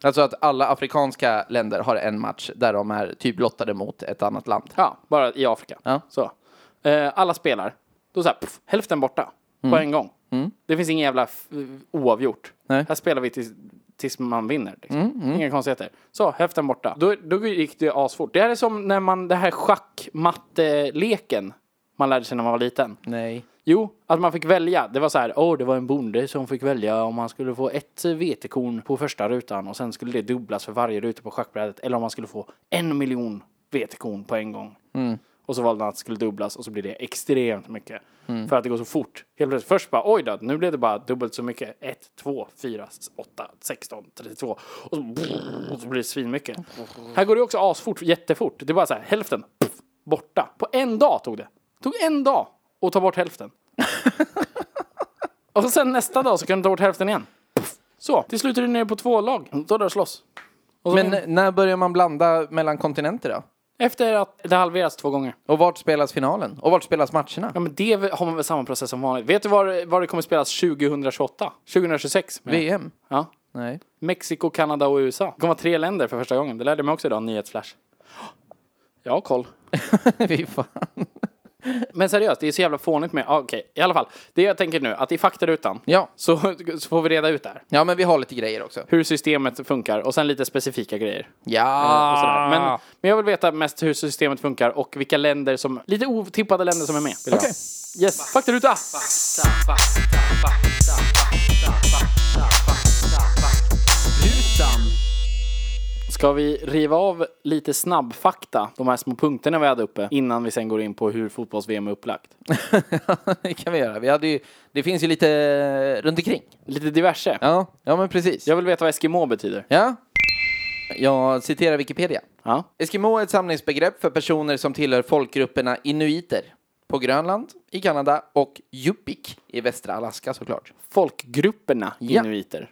Alltså att alla afrikanska länder har en match där de är typ lottade mot ett annat land. Ja, bara i Afrika. Ja. Så. Eh, alla spelar. Då så här, pff, hälften borta. På en gång. Det finns ingen jävla f- oavgjort. Nej. Här spelar vi tills, tills man vinner. Liksom. Inga konstigheter. Så, hälften borta. Då, då gick det asfort. Det här är som när man, det här schackmatteleken man lärde sig när man var liten. Nej. Jo, att man fick välja. Det var så här, åh, det var en bonde som fick välja om han skulle få ett vetekorn på första rutan och sen skulle det dubblas för varje ruta på schackbrädet eller om han skulle få en miljon vetekorn på en gång. Och så valde han att det skulle dubblas och så blir det extremt mycket. För att det går så fort. Helt plötsligt först bara, oj då, nu blev det bara dubbelt så mycket. 1, 2, 4, 8, 16, 32. Och så, och så blir det svinmycket. Här går det också asfort, jättefort. Det är bara så här, hälften, puff, borta. På en dag tog det. Tog en dag att ta bort hälften. Och sen nästa dag så kan du ta bort hälften igen. Så, till slut är du nere på två lag. Då drar det slåss. Och så Men när börjar man blanda mellan kontinenter då? Efter att det halveras två gånger. Och vart spelas finalen? Och vart spelas matcherna? Ja men det har man väl samma process som vanligt. Vet du var, var det kommer spelas 2028? 2026? menar jag. VM? Ja. Nej. Mexiko, Kanada och USA. Det kommer vara tre länder för första gången. Det lärde jag mig också idag, nyhetsflash. Jag har koll. Fy fan. Men seriöst, det är så jävla fånigt med... Ah, Okej, i alla fall. Det jag tänker nu, att i faktarutan Ja. så, så får vi reda ut det här. ja, men vi har lite grejer också. Hur systemet funkar och sen lite specifika grejer. Och sådär. Ja! Men, men jag vill veta mest hur systemet funkar och vilka länder som... Lite otippade länder som är med. Okej. Yes, faktaruta! Ska vi riva av lite snabbfakta, de här små punkterna vi hade uppe, innan vi sen går in på hur fotbolls-VM är upplagt? det kan vi göra. Vi hade ju, det finns ju lite runt omkring. Lite diverse. Ja, ja men precis. Jag vill veta vad Eskimo betyder. Ja. Jag citerar Wikipedia. Ja. Eskimo är ett samlingsbegrepp för personer som tillhör folkgrupperna inuiter på Grönland, i Kanada och Yupik i västra Alaska såklart. Folkgrupperna Ja. inuiter.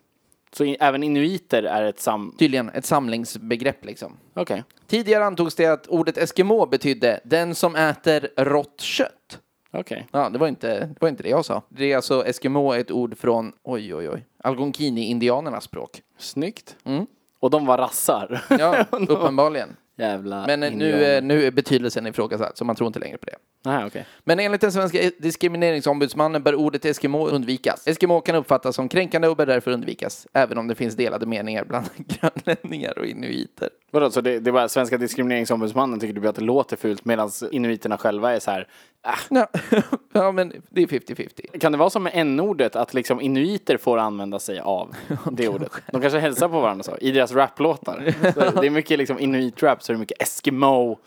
Så i- även inuiter är ett sam... Tydligen ett samlingsbegrepp liksom. Okej. Tidigare antogs det att ordet Eskimo betydde den som äter rått kött. Okej. Ja, det var inte det, var inte det jag sa. Det är alltså Eskimo är ett ord från, oj oj oj, Algonkini-indianernas språk. Snyggt. Mm. Och de var rassar. Ja, uppenbarligen. Jävla Men eh, nu, indianer. är- nu är betydelsen ifrågasatt, så man tror inte längre på det. Nej, okej. Men enligt den svenska diskrimineringsombudsmannen bör ordet Eskimo undvikas. Eskimo kan uppfattas som kränkande och bör därför undvikas, även om det finns delade meningar bland grönlänningar och inuiter. Vadå, så det, det var svenska diskrimineringsombudsmannen tycker du att det låter fult medan inuiterna själva är så här. "Ah, Ja, ja men det är 50-50. Kan det vara som med n-ordet att liksom inuiter får använda sig av det ordet? De kanske hälsar på varandra så, i deras raplåtar. Så Det är mycket liksom inuit-rap så det är mycket Eskimo.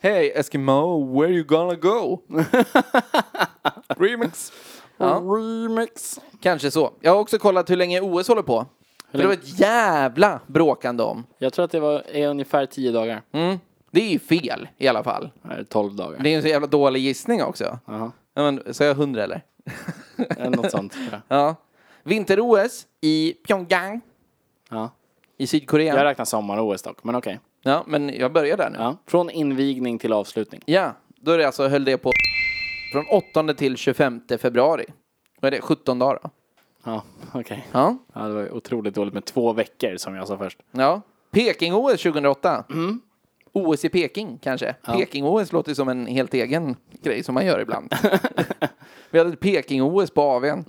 Hey Eskimo, where you gonna go? Remix. Remix. Kanske så. Jag har också kollat hur länge OS håller på. För det var ett jävla bråkande om. Jag tror att det var, är ungefär tio dagar. Mm. Det är ju fel i alla fall. Eller tolv dagar. Det är en så jävla dålig gissning också. Jaha. Ja, men, sa jag 100 eller? Eller eh, Något sånt tror jag. Ja. Vinter-OS i Pyongyang Ja. i Jag Sydkorea. räknar sommar-OS dock, men okej. Ja, men jag börjar där nu. Ja. Ja. Från invigning till avslutning. då är det alltså, höll det på från 8 till 25 februari. Vad är det? 17 dagar då? Ja, okej. Ja. Ja, det var ju otroligt dåligt med två veckor som jag sa först. ja. Peking-OS 2008. Mm. OS i Peking kanske. Peking-OS låter ju som en helt egen grej som man gör ibland. Vi hade ett Peking-OS på AWn.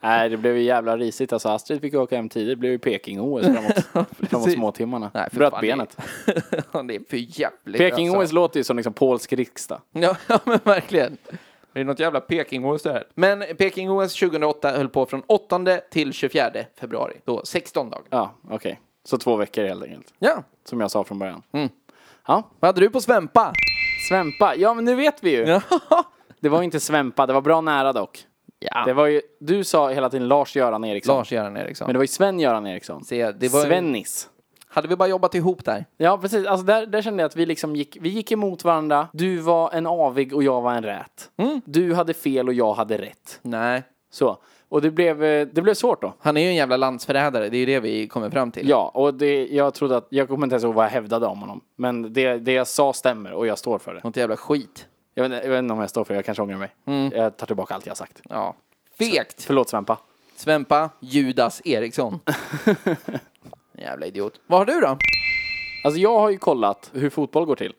Nej, det blev ju jävla risigt. Alltså Astrid fick ju åka hem tidigt. Det blev ju Peking-OS framåt, framåt småtimmarna. Nej, för Bröt fan, benet. Ja, det är för jävligt Peking-OS alltså. låter ju som liksom polsk riksdag. Ja, ja, men verkligen. Det är något jävla Peking-OS det här. Men Peking-OS 2008 höll på från 8 till 24 februari. Då 16 dagar. Ja, okej. Så två veckor helt enkelt. Ja. Som jag sa från början. Mm. Vad hade du på Svempa? Svempa. Ja, men nu vet vi ju. Det var ju inte svempa. Det var bra nära dock. Ja. Det var ju, du sa hela tiden Lars-Göran Eriksson. Lars-Göran Eriksson. Men det var ju Sven-Göran Eriksson. Se, det var ju- Svennis. Hade vi bara jobbat ihop där? Ja, precis. Alltså där, där kände jag att vi liksom gick, vi gick emot varandra. Du var en avig och jag var en rät. Du hade fel och jag hade rätt. Nej. Så. Och det blev, eh, det blev svårt då. Han är ju en jävla landsförrädare. Det är ju det vi kommer fram till. Ja, och det, jag trodde att, jag kommer inte ens ihåg vad jag hävdade om honom. Men det, det jag sa stämmer och jag står för det. Något jävla skit. Jag vet, inte- jag vet inte om jag står för det, jag kanske ångrar mig. Jag tar tillbaka allt jag har sagt. Ja. Fegt. Förlåt Svempa. Svempa Judas Eriksson. jävla idiot. Vad har du då? Alltså jag har ju kollat hur fotboll går till.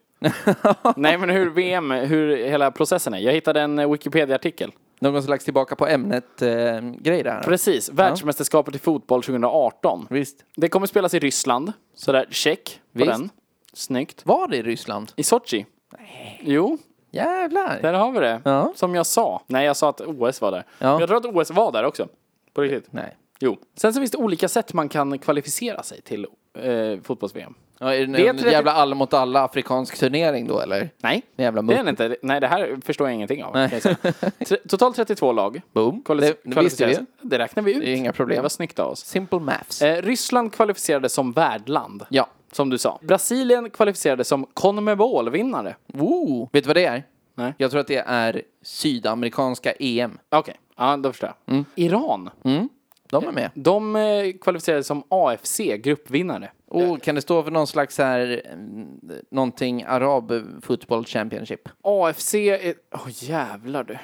Nej men hur VM, hur hela processen är. Jag hittade en eh, Wikipedia-artikel. Någon slags tillbaka på ämnet-grej där? Precis, världsmästerskapet i fotboll 2018. Visst. Det kommer spelas i Ryssland. Sådär, check på Visst. den. Snyggt. Var det i Ryssland? I Sochi. Jo, Jävlar. där har vi det. Ja. Som jag sa. Nej, jag sa att OS var där. Ja. Men Jag tror att OS var där också. På riktigt. Nej. Jo. Sen så finns det olika sätt man kan kvalificera sig till eh, fotbolls-VM. Ja, är det en Det är trettio- jävla alla mot alla afrikansk turnering då eller? Nej, Jävla det är mupp. den inte. Nej, det här förstår jag ingenting av. kan jag säga. Tre- Totalt 32 lag. Boom. Kvali- Det- det visste vi. kvalificeras. Det räknar vi ut. Det är inga problem. Det var snyggt av oss. Simple maths. Eh, Ryssland kvalificerade som värdland. Ja. Som du sa. Brasilien kvalificerade som Conmebol-vinnare. Woo. Vet du vad det är? Nej. Jag tror att det är sydamerikanska E EM. Okej, Ja, då förstår jag. Mm. Iran. De är med. De eh, kvalificerades som AFC, gruppvinnare. Och kan det stå för någon slags här, mm, någonting Arab Football Championship? AFC är... Åh jävlar du.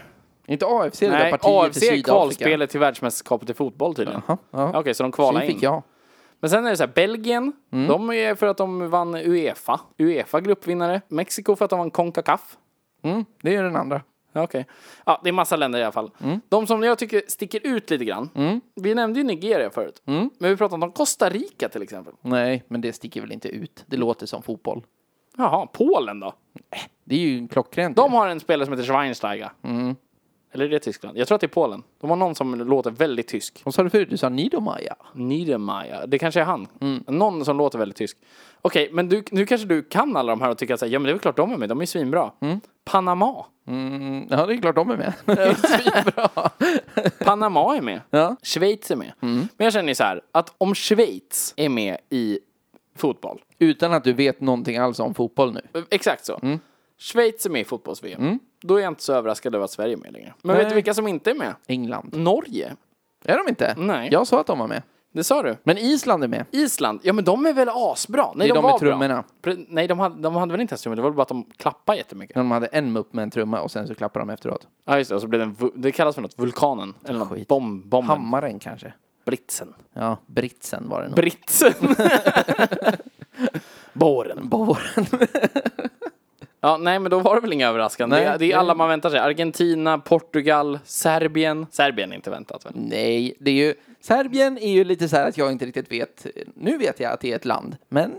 Inte AFC, det där Nej, partiet AFC i är Sydafrika. kvalspelet till världsmästerskapet i fotboll tydligen. Jaha, ja. Okej, så de Så kvalar in. fick jag. Mm. Men sen är det så här, Belgien, de är för att de vann Uefa. Uefa gruppvinnare. Mexiko för att de vann Concacaf. Mm, det är ju den andra. Ja, Okej. Ja, det är massa länder i alla fall. De som jag tycker sticker ut lite grann. Vi nämnde ju Nigeria förut. Men vi pratade om Costa Rica till exempel. Nej, men det sticker väl inte ut. Det låter som fotboll. Jaha, Polen då? Det är ju klockrent. De har en spelare som heter Schweinsteiger. Eller är det Tyskland? Jag tror att det är Polen. De har någon som låter väldigt tysk. Vad sa du förut? Du sa Niedermayer. Niedermayer. Det kanske är han. Någon som låter väldigt tysk. Okej, men du, nu kanske du kan alla de här och tycker att så här, ja men det är väl klart de är med. De är ju svinbra. Panama. Mm, ja, det är klart de är med. Det är svinbra. Panama är med. Ja. Schweiz är med. Men jag känner ju så här, att om Schweiz är med i fotboll. Utan att du vet någonting alls om fotboll nu. Exakt så. Mm. Schweiz är med i fotbolls-VM. Då är jag inte så överraskad över att Sverige är med längre. Men vet du vilka som inte är med? England. Norge. Är de inte? Nej. Jag sa att de var med. Det sa du. Men Island är med. Island, ja men de är väl asbra? Nej, Det är de var med trummorna. Bra. Pre- Nej, de hade, de hade väl inte ens trummor, det var bara att de klappade jättemycket. De hade en mupp med en trumma och sen så klappade de efteråt. Ja, just det, och så blev det en, vu- det kallas för något, vulkanen. Eller något, Skit. bomb, bomben. Hammaren kanske? Britsen. Ja, britsen var det nog. Britsen! Båren. Båren. Ja, nej men då var det väl inga överraskande. Nej, det, är- det det- är alla man väntar sig. Argentina, Portugal, Serbien. Serbien är inte väntat väl? Nej, det är ju... Serbien är ju lite så här att jag inte riktigt vet. Nu vet jag att det är ett land, men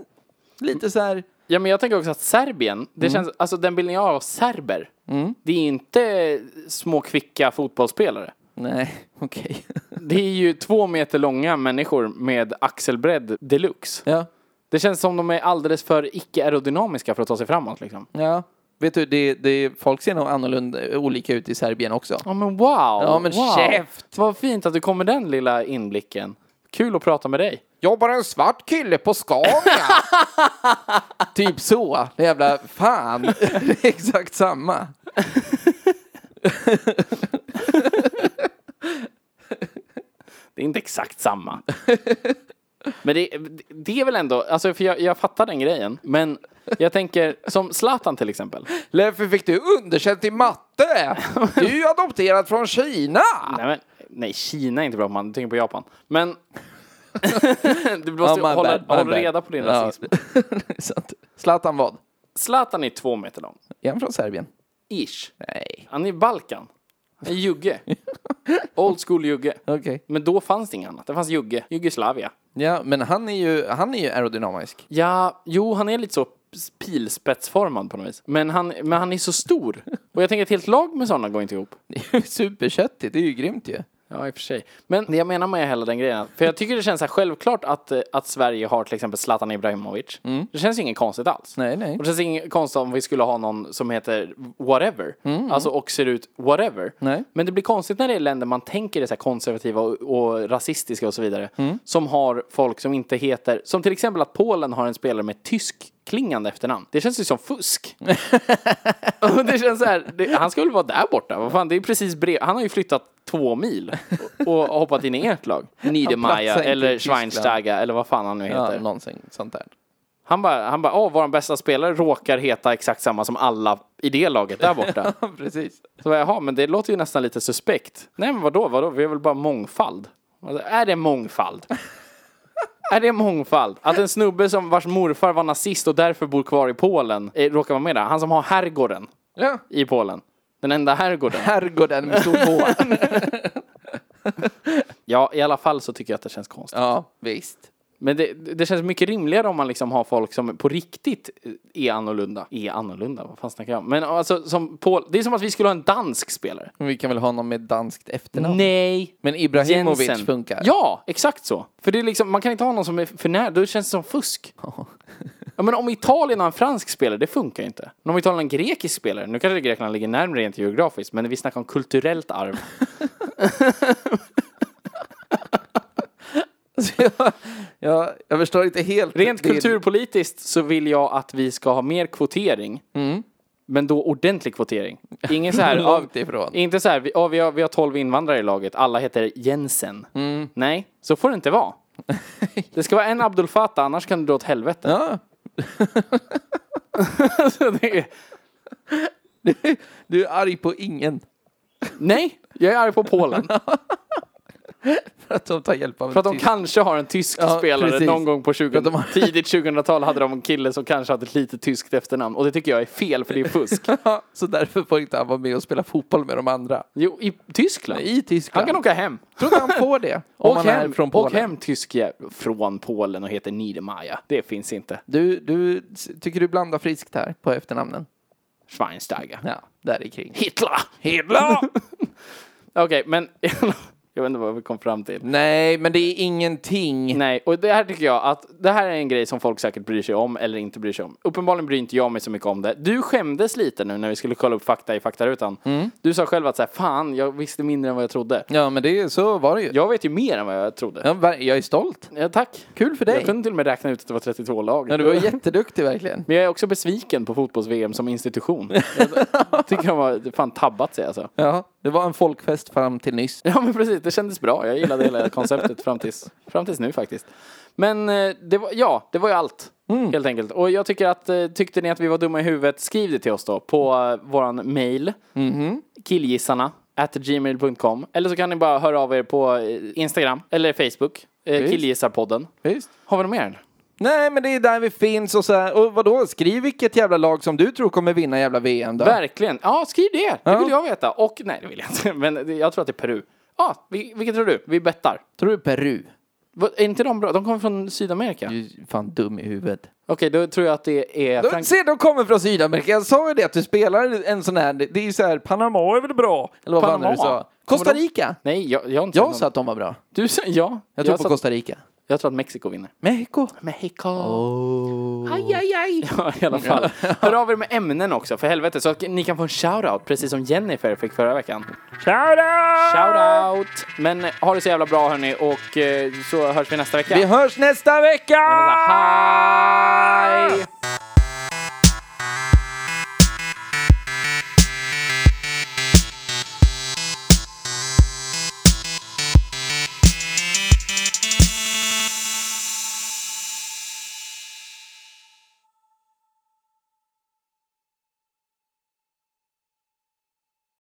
lite så här... Ja, men jag tänker också att Serbien, det Mm. känns, alltså den bilden jag har av serber, det är inte små kvicka fotbollsspelare. Nej, okej. Det är ju två meter långa människor med axelbredd deluxe. Ja, Det känns som de är alldeles för icke-aerodynamiska för att ta sig framåt liksom. ja. Vet du, det, det, folk ser nog annorlunda olika ut i Serbien också. Ja men wow! Ja men wow. käft! Vad fint att du kom med den lilla inblicken. Kul att prata med dig. Jobbar en svart kille på Scania? typ så. Det jävla fan. Det är exakt samma. Det är inte exakt samma. men det, det är väl ändå, alltså för jag, jag fattar den grejen. Men jag tänker, som Zlatan till exempel. Leffe, fick du underkänt i matte? Du är ju adopterad från Kina! Nej, men, nej Kina är inte bra på man, du tänker på Japan. Men du måste Ja, my hålla, bad, my hålla bad. reda på din Ja. rasism. Det är sant. Zlatan vad? Zlatan är två meter lång. Är han från Serbien? Ish. Nej. Han är Balkan. Han är jugge. Old school jugge. Okej. Men då fanns det inget annat. Det fanns jugge. Jugoslavia. Ja, men han är ju, han är ju aerodynamisk. Ja, jo, han är lite så pilspetsformad på något vis. Men han, men han är så stor. Och jag tänker ett helt lag med sådana går inte ihop. Det är ju superköttigt, det är ju grymt ju. Ja, i och för sig. Men det jag menar med hela den grejen, för jag tycker det känns så här självklart att, eh, att Sverige har till exempel Zlatan Ibrahimovic. Det känns ju inget konstigt alls. Mm. Nej, nej. Och det känns inget konstigt om vi skulle ha någon som heter whatever, alltså och ser ut whatever. Mm, Nej. Men det blir konstigt när det är länder man tänker är så här konservativa och, och rasistiska och så vidare, Mm. som har folk som inte heter, som till exempel att Polen har en spelare med tysk klingande efternamn. Det känns ju som fusk. Och det känns så här, det, han skulle vara där borta. Vad fan, det är precis brev. Han har ju flyttat två mil och, och hoppat in i ert lag. Niedermayer platsar inte i eller Tyskland. Schweinsteiger eller vad fan han nu heter. Ja, någonsin sånt där. Han bara, han bara, åh, vår bästa spelare råkar heta exakt samma som alla i det laget där borta. Precis. Så bara, jaha, men det låter ju nästan lite suspekt. Nej, men vadå, vadå, vi är väl bara mångfald? Alltså, är det mångfald? är det mångfald? Att en snubbe som vars morfar var nazist och därför bor kvar i Polen eh, råkar vara med där. Han som har herrgården Ja. i Polen. Den enda herrgården. Herrgården med stor K. Ja, i alla fall så tycker jag att det känns konstigt. ja, visst. Men det, det känns mycket rimligare om man liksom har folk som på riktigt är annorlunda. Är annorlunda? Vad fan snackar jag om? Men alltså, som Paul, det är som att vi skulle ha en dansk spelare. Men vi kan väl ha någon med danskt efternamn? Nej! Men Ibrahimovic Jensen. funkar? Ja, exakt så. För det är liksom, man kan inte ha någon som är för nära, då känns det som fusk. Ja, men om Italien har en fransk spelare, det funkar ju inte. Men om Italien har en grekisk spelare, nu kanske Grekland ligger närmare rent geografiskt, men vi snackar om kulturellt arv. Så jag, jag, jag förstår inte helt. Rent din- kulturpolitiskt så vill jag att vi ska ha mer kvotering. Men då ordentlig kvotering. Ingen så här, av, Mm. Långt ifrån. inte så här, vi, ja, vi, har, vi har 12 invandrare i laget, alla heter Jensen. Mm. Nej, så får det inte vara. Det ska vara en Abdul Fattah, annars kan du dra åt helvete. Ja. Alltså, det är, Du är arg på ingen nej, jag är arg på Polen. för att de tar hjälp av en För att de tysk. kanske har en tysk Ja, spelare precis. någon gång på 20, att de har- tidigt 2000-tal hade de en kille som kanske hade ett lite tyskt efternamn. Och det tycker jag är fel, för det är fusk. Ja, Så därför får inte han vara med och spela fotboll med de andra. Jo, i Tyskland. I Han Tyskland. kan åka hem. Tror du han får det? Om Åk han är hem från Åk Polen. hem tysk jä- från Polen och heter Niedermayer. Det finns inte. Du, du s- tycker du blandar friskt här på efternamnen? Schweinsteiger. Ja, där är kring. Hitler! Hitler! Okej, men jag vet inte vad vi kom fram till. Nej, men det är ingenting. Nej, och det här tycker jag att det här är en grej som folk säkert bryr sig om eller inte bryr sig om. Uppenbarligen bryr inte jag mig så mycket om det. Du skämdes lite nu när vi skulle kolla upp fakta i faktarutan. Mm. Du sa själv att så här, fan, jag visste mindre än vad jag trodde. Ja, men det, så var det ju. Jag vet ju mer än vad jag trodde. Ja, ver- jag är stolt. Ja, tack. Kul för dig. Jag kunde till och med räkna ut att det var 32 lag. Ja, du var jätteduktig verkligen. Men jag är också besviken på fotbolls-VM som institution. Jag tycker de har fan tabbat sig alltså. Ja, det var en folkfest fram till nyss. Ja men precis, det kändes bra. Jag gillade hela konceptet fram tills, fram tills nu faktiskt. Men eh, det var, ja, det var ju allt. Helt enkelt. Och jag tycker att, eh, tyckte ni att vi var dumma i huvudet, skriv det till oss då på eh, våran mail. Killgissarna at gmail.com. Eller så kan ni bara höra av er på eh, Instagram eller Facebook. Eh, Visst. Killgissarpodden. Visst. Har vi något mer? Nej, men det är där vi finns och så här. Och vadå, skriv vilket jävla lag som du tror kommer vinna jävla VM då. Verkligen. Ja, skriv det. Det vill jag veta. Och nej, det vill jag inte. Men det- jag tror att det är Peru. Ja, vi, vilket tror du? Vi bettar. tror du Peru? Vad- Är inte de bra? De kommer från Sydamerika. Du är fan dum i huvudet. Okej, då tror jag att det är... De, Frank- se, de kommer från Sydamerika. Jag sa ju det att du spelar en sån här, det det är ju så här, Panama är väl bra? Eller vad fan Panama? du sa? Costa Rica! Nej, jag, jag har inte Jag sett sa någon- att de var bra. Du sa... Ja. Jag tror jag, på sa, Costa Rica. jag tror att Mexiko vinner. Mexiko. Mexiko. Oh. Aj, aj, aj. Ja, i alla fall. Hör av er med ämnen också, för helvete. Så att ni kan få en shoutout, precis som Jennifer fick förra veckan. Shoutout! Shoutout! Men eh, ha det så jävla bra hörni, och eh, så hörs vi nästa vecka. Vi hörs nästa vecka! Hej!